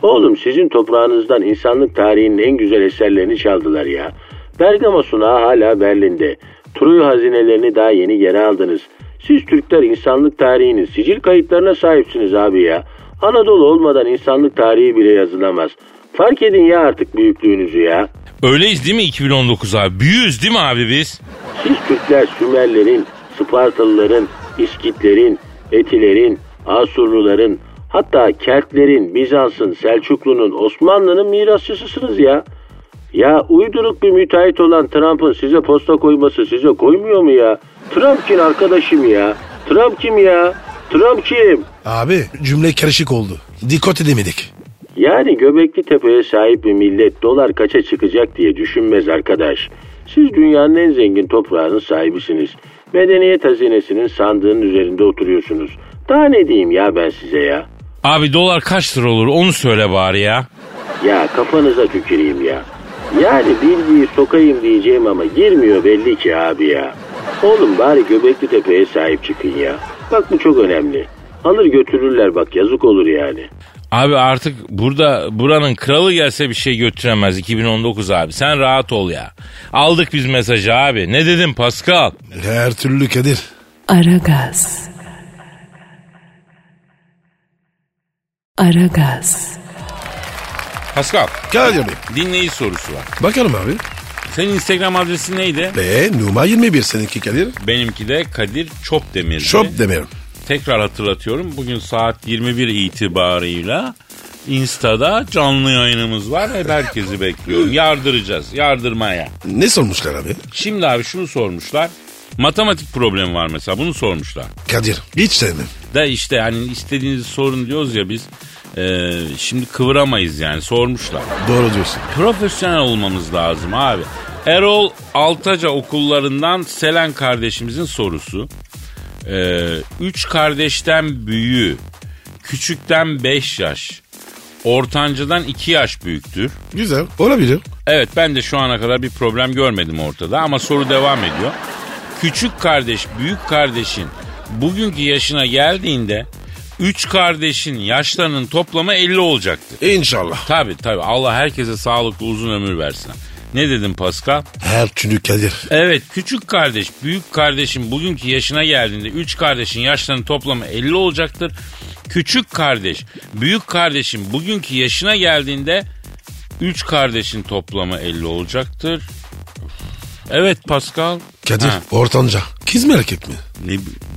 S4: Oğlum sizin toprağınızdan insanlık tarihinin en güzel eserlerini çaldılar ya. Bergama sunağı hala Berlin'de. Truy hazinelerini daha yeni geri aldınız. Siz Türkler insanlık tarihinin sicil kayıtlarına sahipsiniz abi ya. Anadolu olmadan insanlık tarihi bile yazılamaz. Fark edin ya artık büyüklüğünüzü ya.
S2: Öyleyiz değil mi 2019 abi? Büyüyüz değil mi abi biz?
S4: Siz Türkler Sümerlerin, Spartalıların, İskitlerin, Etilerin, Asurluların, hatta Keltlerin, Bizans'ın, Selçuklu'nun, Osmanlı'nın mirasçısısınız ya. Ya uyduruk bir müteahhit olan Trump'ın size posta koyması size koymuyor mu ya? Trump kim arkadaşım ya? Trump kim ya? Trump kim?
S3: Abi cümle karışık oldu. Dikkat edemedik.
S4: Yani Göbekli Tepe'ye sahip bir millet dolar kaça çıkacak diye düşünmez arkadaş. Siz dünyanın en zengin toprağının sahibisiniz. Medeniyet hazinesinin sandığının üzerinde oturuyorsunuz. Daha ne diyeyim ya ben size ya?
S2: Abi dolar kaç lira olur onu söyle bari ya.
S4: Ya kafanıza tüküreyim ya. Yani bilgiyi sokayım diyeceğim ama girmiyor belli ki abi ya. Oğlum bari Göbekli Tepe'ye sahip çıkın ya. Bak bu çok önemli. Alır götürürler bak yazık olur yani.
S2: Abi artık burada buranın kralı gelse bir şey götüremez 2019 abi. Sen rahat ol ya. Aldık biz mesajı abi. Ne dedim Pascal?
S3: Her türlü Kadir.
S1: Aragaz. Aragaz.
S2: Pascal
S3: Kadir Bey.
S2: dinleyici sorusu var.
S3: Bakalım abi.
S2: Senin Instagram adresin neydi?
S3: Ve numara 21 seninki Kadir.
S2: Benimki de Kadir Çopdemir'di.
S3: Şop demiyorum.
S2: Tekrar hatırlatıyorum. Bugün saat 21 itibarıyla Insta'da canlı yayınımız var. Hep herkesi bekliyorum. Yardıracağız. Yardırmaya.
S3: Ne sormuşlar abi?
S2: Şimdi abi şunu sormuşlar. Matematik problemi var mesela bunu sormuşlar.
S3: Kadir. Hiç sevmem.
S2: Da işte hani istediğiniz sorun diyoruz ya biz. Ee, şimdi kıvıramayız yani sormuşlar.
S3: Doğru diyorsun.
S2: Profesyonel olmamız lazım abi. Erol Altaca okullarından Selen kardeşimizin sorusu. E, Ee, üç kardeşten büyüğü, küçükten 5 yaş, ortancıdan 2 yaş büyüktür.
S3: Güzel. Olabilir.
S2: Evet ben de şu ana kadar bir problem görmedim ortada ama soru devam ediyor. Küçük kardeş büyük kardeşin bugünkü yaşına geldiğinde 3 kardeşin yaşlarının toplamı 50 olacaktı.
S3: İnşallah.
S2: Tabi tabi Allah herkese sağlıklı uzun ömür versin. Ne dedim Pascal?
S3: Her türlü Kadir.
S2: Evet küçük kardeş büyük kardeşin bugünkü yaşına geldiğinde 3 kardeşin yaşlarının toplamı 50 olacaktır. Küçük kardeş büyük kardeşin bugünkü yaşına geldiğinde 3 kardeşin toplamı 50 olacaktır. Evet Pascal.
S3: Kadir
S2: Ha,
S3: ortanca. Kız mı erkek mi?
S2: ne,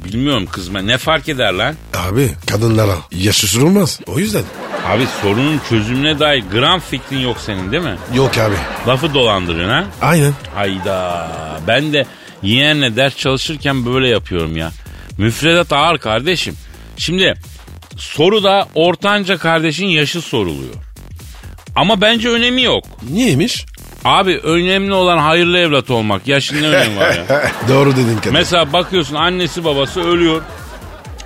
S2: bilmiyorum kızma ne fark eder lan?
S3: Abi kadınlara yaş olmaz. O yüzden.
S2: Abi sorunun çözümüne dair gram fikrin yok senin değil mi?
S3: Yok abi.
S2: Lafı dolandırın ha?
S3: Aynen.
S2: Hayda. Ben de yeğenle ders çalışırken böyle yapıyorum ya. Müfredat ağır kardeşim. Şimdi soruda ortanca kardeşin yaşı soruluyor. Ama bence önemi yok.
S3: Niyeymiş?
S2: Abi önemli olan hayırlı evlat olmak. Yaşın ne önemi var ya?
S3: Doğru dedin Kadir.
S2: Mesela bakıyorsun annesi babası ölüyor.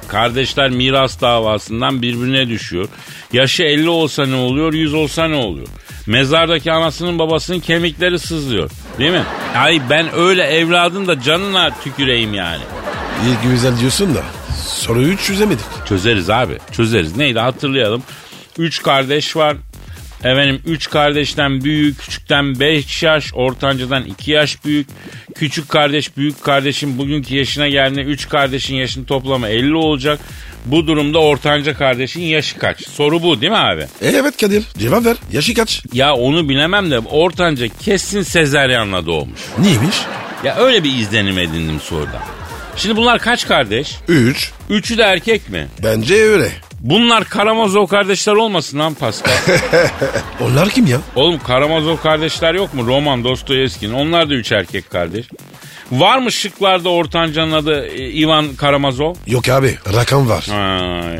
S2: Kardeşler miras davasından birbirine düşüyor. Yaşı 50 olsa ne oluyor, 100 olsa ne oluyor? Mezardaki anasının babasının kemikleri sızlıyor. Değil mi? Ay ben öyle evladın da canına tüküreyim yani.
S3: İyi ki güzel diyorsun da soruyu hiç çözemedik.
S2: Çözeriz abi. Çözeriz. Neydi hatırlayalım. Üç kardeş var. Efendim üç kardeşten büyük, küçükten 5 yaş, ortancadan 2 yaş büyük. Küçük kardeş, büyük kardeşin bugünkü yaşına geldiğinde üç kardeşin yaşının toplamı 50 olacak. Bu durumda ortanca kardeşin yaşı kaç? Soru bu değil mi abi?
S3: E, evet Kadir cevap ver. Yaşı kaç?
S2: Ya onu bilemem de ortanca kesin sezaryenle doğmuş.
S3: Niyeymiş?
S2: Ya öyle bir izlenim edindim sorudan. Şimdi bunlar kaç kardeş?
S3: 3.
S2: Üçü de erkek mi?
S3: Bence öyle.
S2: Bunlar Karamazov kardeşler olmasın lan Pascal.
S3: Onlar kim ya?
S2: Oğlum Karamazov kardeşler yok mu? Roman, Dostoyevski'nin. Onlar da üç erkek kardeş. Var mı şıklarda ortancanın adı e, Ivan Karamazov?
S3: Yok abi rakam var.
S2: Ay.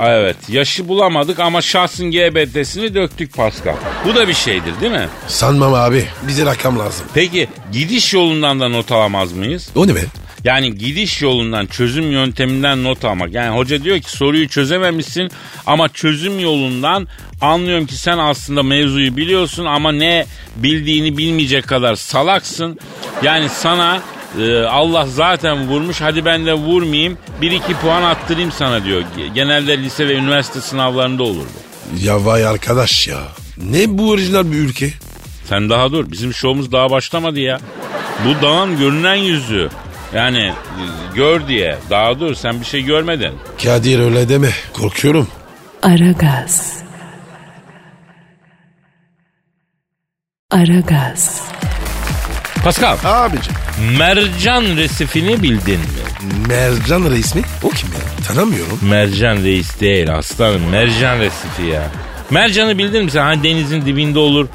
S2: Evet yaşı bulamadık ama şahsın GBT'sini döktük Pascal. Bu da bir şeydir değil mi?
S3: Sanmam abi bize rakam lazım.
S2: Peki gidiş yolundan da not alamaz mıyız?
S3: O ne be?
S2: Yani gidiş yolundan çözüm yönteminden not almak. Yani hoca diyor ki soruyu çözememişsin ama çözüm yolundan anlıyorum ki sen aslında mevzuyu biliyorsun ama ne bildiğini bilmeyecek kadar salaksın. Yani sana e, Allah zaten vurmuş hadi ben de vurmayayım bir iki puan attırayım sana diyor. Genelde lise ve üniversite sınavlarında olur bu.
S3: Ya vay arkadaş ya. Ne bu orijinal bir ülke?
S2: Sen daha dur bizim şovumuz daha başlamadı ya. Bu dağın görünen yüzü. Yani e, gör diye daha dur sen bir şey görmedin.
S3: Kadir öyle deme. Korkuyorum.
S1: Aragaz. Aragaz.
S2: Pascal,
S3: Abici.
S2: mercan resifini bildin mi?
S3: Mercan Reis mi? O kim ya? Tanımıyorum.
S2: Mercan reis değil aslanım, mercan resifi ya. Mercanı bildin mi sen? Hani denizin dibinde olur.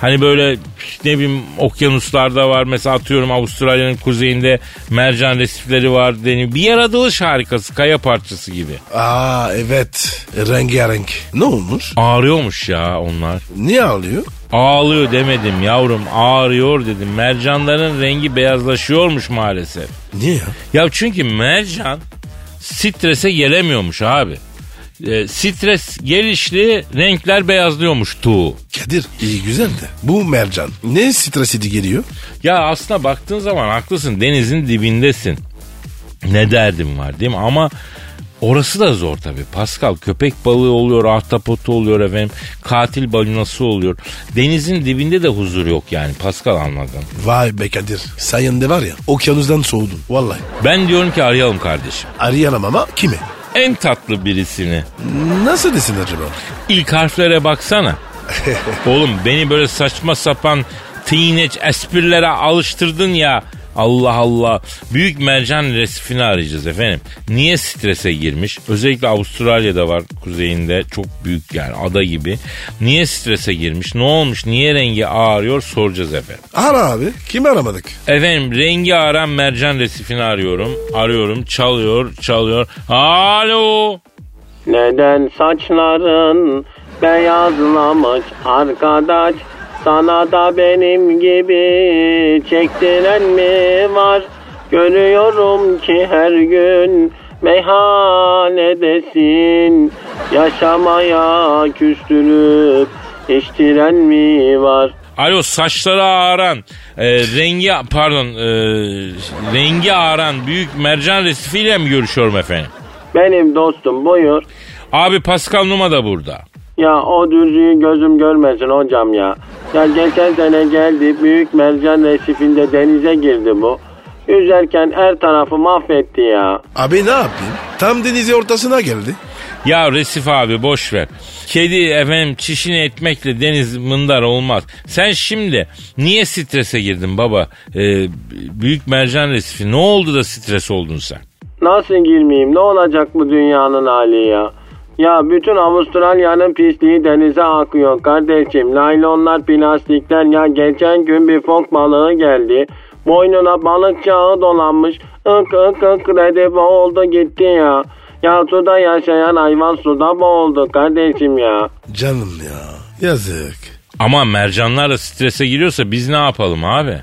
S2: Hani böyle ne bileyim okyanuslarda var. Mesela atıyorum Avustralya'nın kuzeyinde mercan resifleri var deniyor. Bir yaratılış harikası, kaya parçası gibi.
S3: Aa evet. Rengarenk. Ne olmuş?
S2: Ağrıyormuş ya onlar.
S3: Niye ağlıyor?
S2: Ağlıyor demedim yavrum ağrıyor dedim. Mercanların rengi beyazlaşıyormuş maalesef.
S3: Niye ya?
S2: Ya çünkü mercan strese gelemiyormuş abi. E, stres gelişli renkler beyazlıyormuş tuğu.
S3: Kadir iyi güzel de. Bu mercan. Ne stresi geliyor?
S2: Ya aslında baktığın zaman haklısın denizin dibindesin. Ne derdim var değil mi? Ama orası da zor tabii. Pascal köpek balığı oluyor, ahtapotu oluyor efendim. Katil balinası oluyor. Denizin dibinde de huzur yok yani Pascal anladın.
S3: Vay be Kadir. Sayende var ya okyanusdan soğudun. Vallahi.
S2: Ben diyorum ki arayalım kardeşim.
S3: Arayamam ama kimi?
S2: En tatlı birisini.
S3: Nasıl desin acaba?
S2: İlk harflere baksana. Oğlum beni böyle saçma sapan teenage esprilere alıştırdın ya. Allah Allah. Büyük mercan resifini arayacağız efendim. Niye strese girmiş? Özellikle Avustralya'da var kuzeyinde. Çok büyük yani ada gibi. Niye strese girmiş? Ne olmuş? Niye rengi ağrıyor? Soracağız efendim.
S3: Ara abi. Kimi aramadık?
S2: Efendim rengi ağaran mercan resifini arıyorum. Arıyorum. Çalıyor. Çalıyor. Alo.
S4: Neden saçların beyazlamış arkadaş? Sana da benim gibi çektiren mi var? Görüyorum ki her gün Meyhanedesin yaşamaya küstürüp hiç tren mi var?
S2: Alo saçları ağaran, e, rengi pardon e, rengi ağaran büyük mercan resifiyle mi görüşüyorum efendim?
S4: Benim dostum buyur.
S2: Abi Pascal Numa da burada.
S4: Ya o dürzüyü gözüm görmesin hocam ya. Ya geçen sene geldi büyük mercan resifinde denize girdi bu. Yüzerken her tarafı mahvetti ya.
S3: Abi ne yapayım? Tam denizin ortasına geldi.
S2: Ya Resif abi boş ver. Kedi efendim çişini etmekle deniz mındar olmaz. Sen şimdi niye strese girdin baba? E, büyük mercan resifi ne oldu da stres oldun sen?
S4: Nasıl girmeyeyim ne olacak bu dünyanın hali ya. Ya bütün Avustralya'nın pisliği denize akıyor kardeşim. Naylonlar, plastikler ya geçen gün bir fok balığı geldi. Boynuna balık çağı dolanmış. Ink ink ink redebe oldu gitti ya. Ya suda yaşayan hayvan suda boğuldu kardeşim ya.
S3: Canım ya. Yazık.
S2: Ama mercanlar da strese giriyorsa biz ne yapalım abi?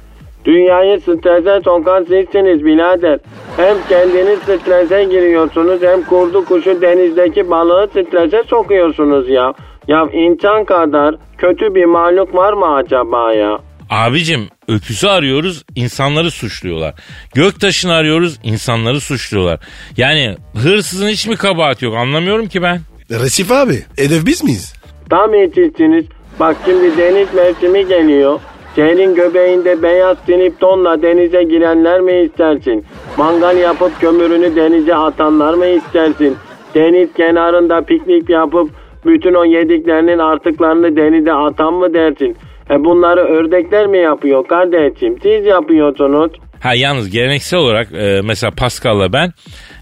S4: Dünyayı strese sokan sizsiniz birader. Hem kendiniz strese giriyorsunuz hem kurdu kuşu denizdeki balığı strese sokuyorsunuz ya. Ya insan kadar kötü bir mahluk var mı acaba ya?
S2: Abicim öküzü arıyoruz insanları suçluyorlar. Göktaşını arıyoruz insanları suçluyorlar. Yani hırsızın hiç mi kabahati yok anlamıyorum ki ben.
S3: Resif abi. Hedef biz miyiz?
S4: Tam yetiştiniz. Bak şimdi deniz mevsimi geliyor. Şehrin göbeğinde beyaz siniptonla denize girenler mi istersin? Mangal yapıp kömürünü denize atanlar mı istersin? Deniz kenarında piknik yapıp bütün o yediklerinin artıklarını denize atan mı dersin? E bunları ördekler mi yapıyor kardeşim? Siz yapıyorsunuz.
S2: Ha yalnız geleneksel olarak e, mesela Pascal'la ben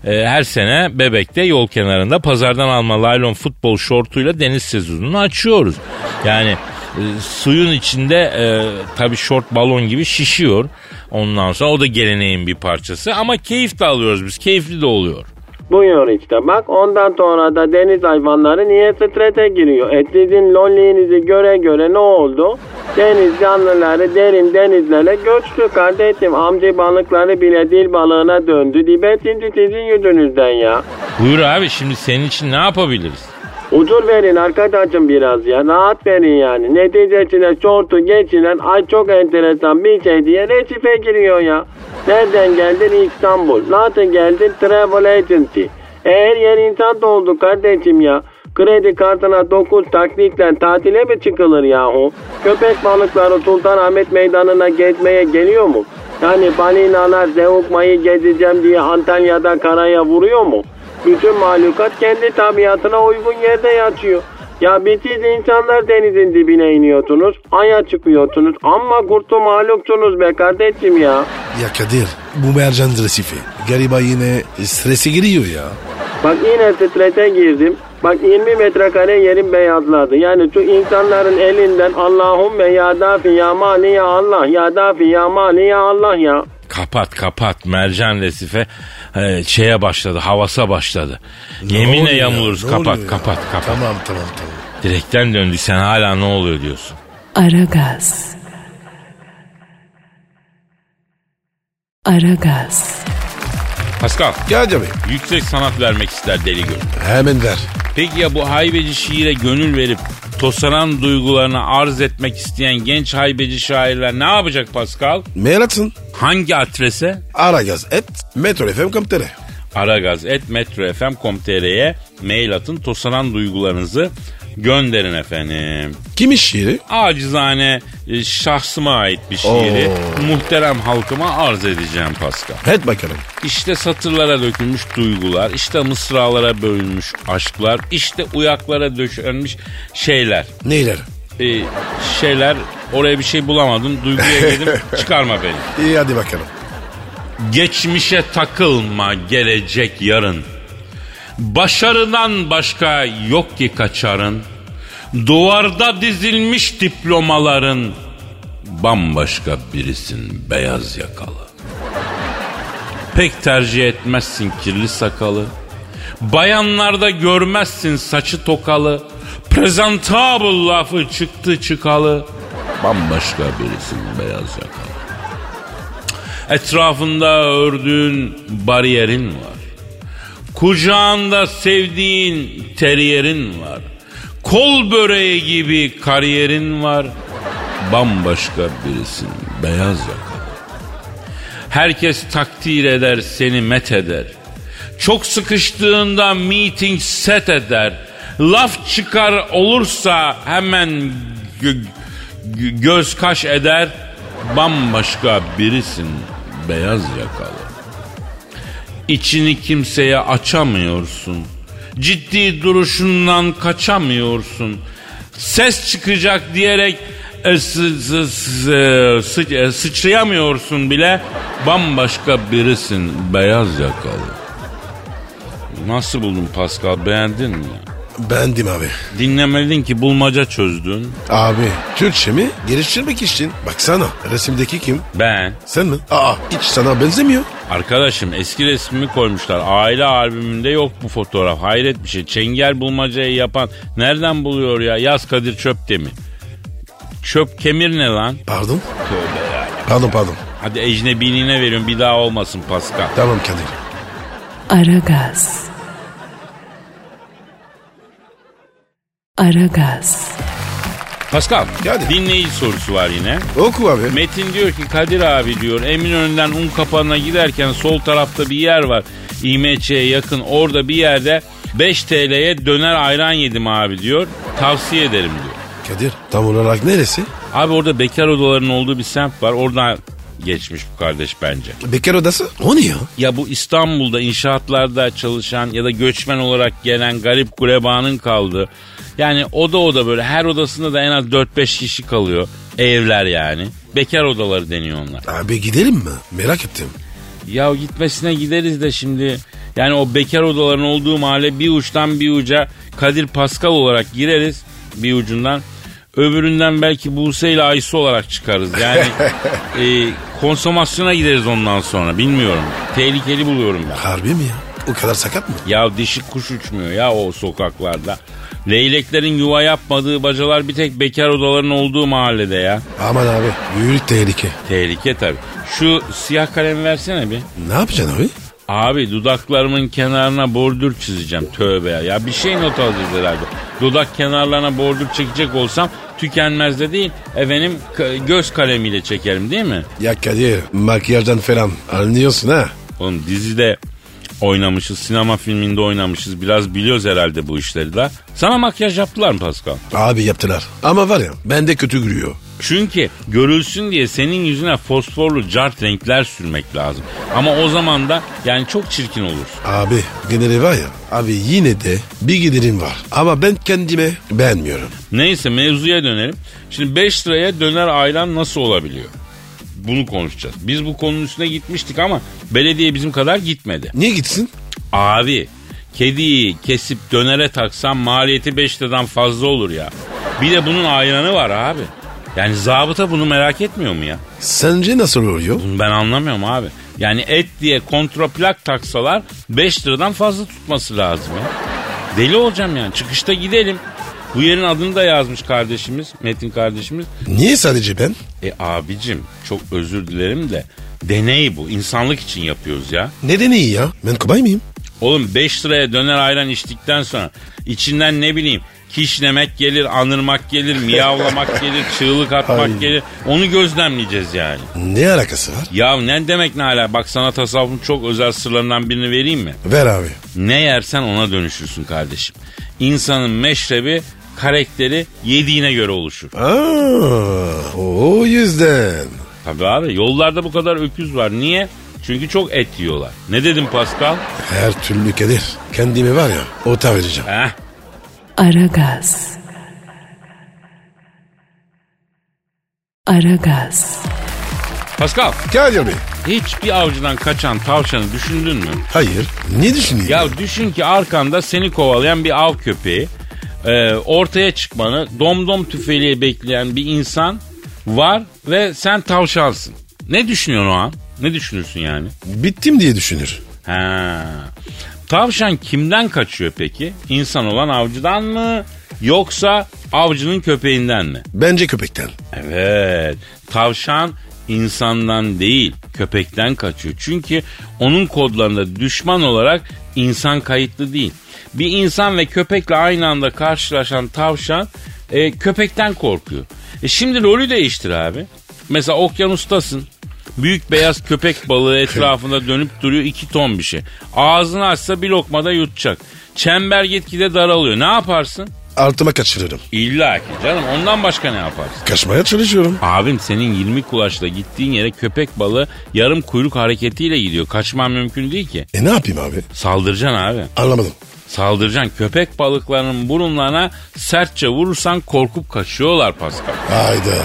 S2: e, her sene Bebek'te yol kenarında pazardan alma laylon futbol şortuyla deniz sezonunu açıyoruz. Yani e, suyun içinde e, tabii şort balon gibi şişiyor. Ondan sonra o da geleneğin bir parçası ama keyif de alıyoruz biz. Keyifli de oluyor.
S4: Buyur işte bak ondan sonra da deniz hayvanları niye strese giriyor? E sizin lolliğinizi göre göre ne oldu? Deniz canlıları derin denizlere göçtü kardeşim. Amca balıkları bile dil balığına döndü. Dibe şimdi sizin yüzünüzden ya.
S2: Buyur abi şimdi senin için ne yapabiliriz?
S4: Huzur verin arkadaşım biraz ya. Rahat verin yani. Neticesine şortu geçilen ay çok enteresan bir şey diye resife giriyor ya. Nereden geldin İstanbul? Nereden geldin Travel Agency? Her yer insan doldu kardeşim ya. Kredi kartına 9 taklitle tatile mi çıkılır yahu? Köpek balıkları Sultanahmet Meydanı'na gezmeye geliyor mu? Yani balinalar Zeugma'yı gezeceğim diye Antalya'da karaya vuruyor mu? Bütün mahlukat kendi tabiatına uygun yerde yatıyor. Ya bir siz insanlar denizin dibine iniyorsunuz, aya çıkıyorsunuz ama kurtu mahluksunuz be kardeşim ya.
S3: Ya Kadir bu mercan resifi. Gariba yine strese giriyor ya.
S4: Bak yine strese girdim. Bak 20 metrekare yerim beyazladı. Yani şu insanların elinden Allahümme ya dafi ya mani ya Allah ya dafi ya mani ya Allah ya.
S2: Kapat kapat mercan resife e, şeye başladı havasa başladı. Yeminle
S3: oluyor ya?
S2: yamuluruz
S3: Ne
S2: kapat
S3: oluyor ya?
S2: kapat kapat.
S3: Tamam tamam tamam.
S2: Direkten döndük sen hala ne oluyor diyorsun.
S1: Aragaz. Aragaz.
S2: Pascal
S3: Gel abi.
S2: yüksek sanat vermek ister deli gönül.
S3: Hemen ver.
S2: Peki ya bu haybeci şiire gönül verip tosaran duygularını arz etmek isteyen genç haybeci şairler ne yapacak Pascal?
S3: Mail atsın.
S2: Hangi adrese?
S3: Aragaz et metrofm.com.tr
S2: aragaz.metrofm.com.tr'ye mail atın tosaran duygularınızı gönderin efendim.
S3: Kimin şiiri?
S2: Acizane e, şahsıma ait bir şiiri muhterem halkıma arz edeceğim Pascal.
S3: Et bakalım.
S2: İşte satırlara dökülmüş duygular, işte mısralara bölünmüş aşklar, işte uyaklara döşenmiş şeyler.
S3: Neyler?
S2: Ee, şeyler oraya bir şey bulamadım. Duyguya girdim. Çıkarma beni.
S3: İyi hadi bakalım.
S2: Geçmişe takılma gelecek yarın. Başarıdan başka yok ki kaçarın. Duvarda dizilmiş diplomaların. Bambaşka birisin beyaz yakalı. Pek tercih etmezsin kirli sakalı. Bayanlarda görmezsin saçı tokalı. Presentable lafı çıktı çıkalı. Bambaşka birisin beyaz yakalı. Etrafında ördüğün bariyerin var. Kucağında sevdiğin teriyerin var. Kol böreği gibi kariyerin var. Bambaşka birisin. Beyaz yakalı. Herkes takdir eder, seni met eder. Çok sıkıştığında meeting set eder. Laf çıkar olursa hemen gö- gö- göz kaş eder. Bambaşka birisin. Beyaz yakalı. İçini kimseye açamıyorsun. Ciddi duruşundan kaçamıyorsun. Ses çıkacak diyerek e, sı- sı- sı- sı- e, sıçrayamıyorsun bile. Bambaşka birisin beyaz yakalı. Nasıl buldun Pascal beğendin mi?
S3: Bendim abi.
S2: Dinlemeliydin ki bulmaca çözdün.
S3: Abi Türkçemi geliştirmek için. Baksana resimdeki kim?
S2: Ben.
S3: Sen mi? Aa hiç sana benzemiyor.
S2: Arkadaşım eski resmimi koymuşlar. Aile albümünde yok bu fotoğraf. Hayret bir şey. Çengel bulmacayı yapan nereden buluyor ya? Yaz Kadir Çöpdemir. Çöp kemir ne lan?
S3: Pardon. Pardon pardon.
S2: Hadi ecnebiliğine veriyorum bir daha olmasın Pascal.
S3: Tamam Kadir.
S1: Aragaz. Aragaz.
S2: Pascal
S3: Hadi.
S2: dinleyici sorusu var yine.
S3: Oku abi.
S2: Metin diyor ki Kadir abi diyor Eminönü'nden un kapanına giderken sol tarafta bir yer var. İMÇ'ye yakın orada bir yerde 5 TL'ye döner ayran yedim abi diyor. Tavsiye ederim diyor.
S3: Kadir tam olarak neresi?
S2: Abi orada bekar odalarının olduğu bir semt var. Oradan geçmiş bu kardeş bence.
S3: Bekar odası. O ne ya?
S2: Ya bu İstanbul'da inşaatlarda çalışan ya da göçmen olarak gelen garip gurebanın kaldığı. Yani oda oda böyle her odasında da en az 4-5 kişi kalıyor. Evler yani. Bekar odaları deniyor onlar.
S3: Abi gidelim mi? Merak ettim.
S2: Ya gitmesine gideriz de şimdi. Yani o bekar odaların olduğu mahalle bir uçtan bir uca Kadir Pascal olarak gireriz bir ucundan. Öbüründen belki Buse ile Aysu olarak çıkarız. Yani e, konsomasyona gideriz ondan sonra bilmiyorum. Tehlikeli buluyorum ben.
S3: Harbi mi ya? O kadar sakat mı?
S2: Ya dişi kuş uçmuyor ya o sokaklarda. Leyleklerin yuva yapmadığı bacalar bir tek bekar odaların olduğu mahallede ya.
S3: Aman abi. Büyük tehlike.
S2: Tehlike tabii. Şu siyah kalemi versene bir.
S3: Ne yapacaksın abi?
S2: Abi dudaklarımın kenarına bordür çizeceğim. Tövbe ya. Ya bir şey not alacağız herhalde. Dudak kenarlarına bordür çekecek olsam tükenmez de değil. Efendim k- göz kalemiyle çekerim değil mi?
S3: Ya Kadir makyajdan falan anlıyorsun ha.
S2: Oğlum dizide oynamışız, sinema filminde oynamışız. Biraz biliyoruz herhalde bu işleri de. Sana makyaj yaptılar mı Pascal?
S3: Abi yaptılar. Ama var ya bende kötü gülüyor.
S2: Çünkü görülsün diye senin yüzüne fosforlu cart renkler sürmek lazım. Ama o zaman da yani çok çirkin olur.
S3: Abi geneli var ya. Abi yine de bir giderim var. Ama ben kendime beğenmiyorum.
S2: Neyse mevzuya dönelim. Şimdi 5 liraya döner ayran nasıl olabiliyor? Bunu konuşacağız. Biz bu konunun üstüne gitmiştik ama belediye bizim kadar gitmedi.
S3: Niye gitsin?
S2: Abi kediyi kesip dönere taksan maliyeti 5 liradan fazla olur ya. Bir de bunun ayranı var abi. Yani zabıta bunu merak etmiyor mu ya?
S3: Sence nasıl oluyor?
S2: Bunu ben anlamıyorum abi. Yani et diye kontraplak taksalar 5 liradan fazla tutması lazım ya. Deli olacağım yani. Çıkışta gidelim. Bu yerin adını da yazmış kardeşimiz, Metin kardeşimiz.
S3: Niye sadece ben?
S2: E abicim çok özür dilerim de deney bu. İnsanlık için yapıyoruz ya.
S3: Neden iyi ya? Ben kobay mıyım?
S2: Oğlum 5 liraya döner ayran içtikten sonra içinden ne bileyim kişnemek gelir, anırmak gelir, miyavlamak gelir, çığlık atmak
S3: Ay.
S2: gelir. Onu gözlemleyeceğiz yani.
S3: Ne alakası var?
S2: Ya ne demek ne hala? Bak sana tasavvufun çok özel sırlarından birini vereyim mi?
S3: Ver abi.
S2: Ne yersen ona dönüşürsün kardeşim. İnsanın meşrebi, karakteri yediğine göre oluşur.
S3: Aa, o yüzden.
S2: Tabii abi yollarda bu kadar öküz var. Niye? Çünkü çok et yiyorlar. Ne dedim Pascal?
S3: Her türlü Kadir. Kendimi var ya ota vereceğim.
S2: Heh.
S1: Aragaz. Aragaz.
S2: Pascal
S3: Kadir Bey.
S2: hiçbir avcıdan kaçan tavşanı düşündün mü?
S3: Hayır. Ne düşünüyorsun?
S2: Ya düşün ki arkanda seni kovalayan bir av köpeği. e, ortaya çıkmanı domdom tüfeğiyle bekleyen bir insan var ve sen tavşansın. Ne düşünüyorsun o an? Ne düşünürsün yani?
S3: Bittim diye düşünür.
S2: Ha. Tavşan kimden kaçıyor peki? İnsan olan avcıdan mı? Yoksa avcının köpeğinden mi?
S3: Bence köpekten.
S2: Evet. Tavşan insandan değil köpekten kaçıyor. Çünkü onun kodlarında düşman olarak insan kayıtlı değil. Bir insan ve köpekle aynı anda karşılaşan tavşan e, köpekten korkuyor. E şimdi rolü değiştir abi. Mesela okyanustasın. Büyük beyaz köpek balığı etrafında dönüp duruyor iki ton bir şey. Ağzını açsa bir lokmada yutacak. Çember gitgide daralıyor. Ne yaparsın?
S3: Altıma kaçırırım.
S2: İlla ki canım ondan başka ne yaparsın?
S3: Kaçmaya çalışıyorum.
S2: Abim senin 20 kulaçla gittiğin yere köpek balığı yarım kuyruk hareketiyle gidiyor. Kaçman mümkün değil ki.
S3: E ne yapayım abi?
S2: Saldıracaksın abi.
S3: Anlamadım.
S2: Saldıracaksın. Köpek balıklarının burunlarına sertçe vurursan korkup kaçıyorlar Pascal.
S3: Hayda.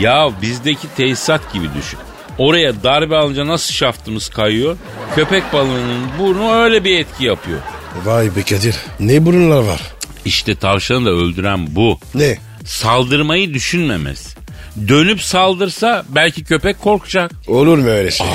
S2: Ya bizdeki tesisat gibi düşün. Oraya darbe alınca nasıl şaftımız kayıyor? Köpek balığının burnu öyle bir etki yapıyor.
S3: Vay be Kadir. Ne burunlar var?
S2: İşte tavşanı da öldüren bu.
S3: Ne?
S2: Saldırmayı düşünmemesi. Dönüp saldırsa belki köpek korkacak.
S3: Olur mu öyle şey?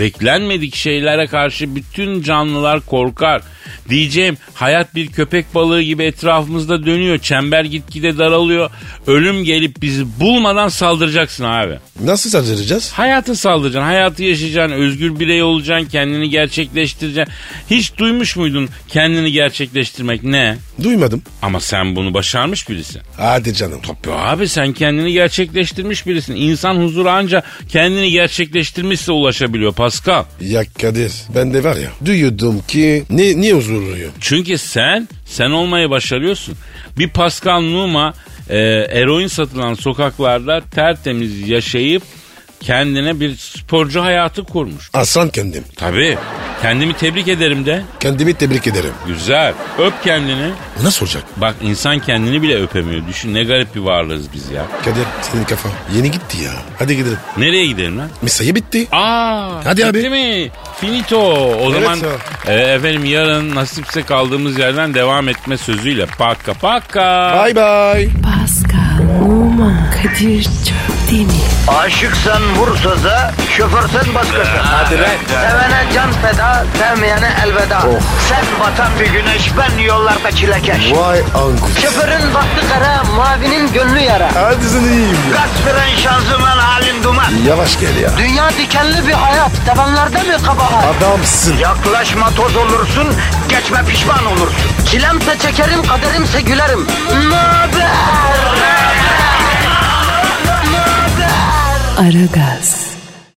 S2: Beklenmedik şeylere karşı bütün canlılar korkar. Diyeceğim hayat bir köpek balığı gibi etrafımızda dönüyor. Çember gitgide daralıyor. Ölüm gelip bizi bulmadan saldıracaksın abi.
S3: Nasıl saldıracağız?
S2: Hayata saldıracaksın, hayatı yaşayacaksın, özgür birey olacaksın, kendini gerçekleştireceksin. Hiç duymuş muydun kendini gerçekleştirmek ne?
S3: Duymadım.
S2: Ama sen bunu başarmış birisin.
S3: Hadi canım.
S2: Ya abi sen kendini gerçekleştirmiş birisin. İnsan huzura anca kendini gerçekleştirmişse ulaşabiliyor Pascal.
S3: Ya Kadir ben de var ya duyuyordum ki ne, niye huzurluyum?
S2: Çünkü sen, sen olmayı başarıyorsun. Bir Pascal Numa e, eroin satılan sokaklarda tertemiz yaşayıp kendine bir sporcu hayatı kurmuş.
S3: Aslan kendim.
S2: Tabii. Kendimi tebrik ederim de.
S3: Kendimi tebrik ederim.
S2: Güzel. Öp kendini.
S3: Bu Nasıl olacak?
S2: Bak insan kendini bile öpemiyor. Düşün ne garip bir varlığız biz ya.
S3: Kadir senin kafa yeni gitti ya. Hadi gidelim.
S2: Nereye gidelim lan?
S3: Mesai bitti.
S2: Aa,
S3: Hadi
S2: bitti
S3: abi.
S2: mi? Finito. O
S3: Evet
S2: zaman
S3: ya.
S2: e, efendim yarın nasipse kaldığımız yerden devam etme sözüyle. Paka paka.
S3: Bye bye.
S1: Pascal, Oman, Kadir çok değil mi?
S5: Aşıksan vursa da, şoförsen başkasın. Hadi Sevene can feda, sevmeyene elveda. Sen batan bir güneş, ben yollarda çilekeş.
S3: Vay anku.
S5: Şoförün baktı kara, mavinin gönlü yara.
S3: Hadi sen iyiyim ya.
S5: Kasperen şanzıman halin duman.
S3: Yavaş gel ya.
S5: Dünya dikenli bir hayat, sevenlerde mi kabahar?
S3: Adamsın.
S5: Yaklaşma toz olursun, geçme pişman olursun. Çilemse çekerim, kaderimse gülerim. Möber!
S1: Aragaz.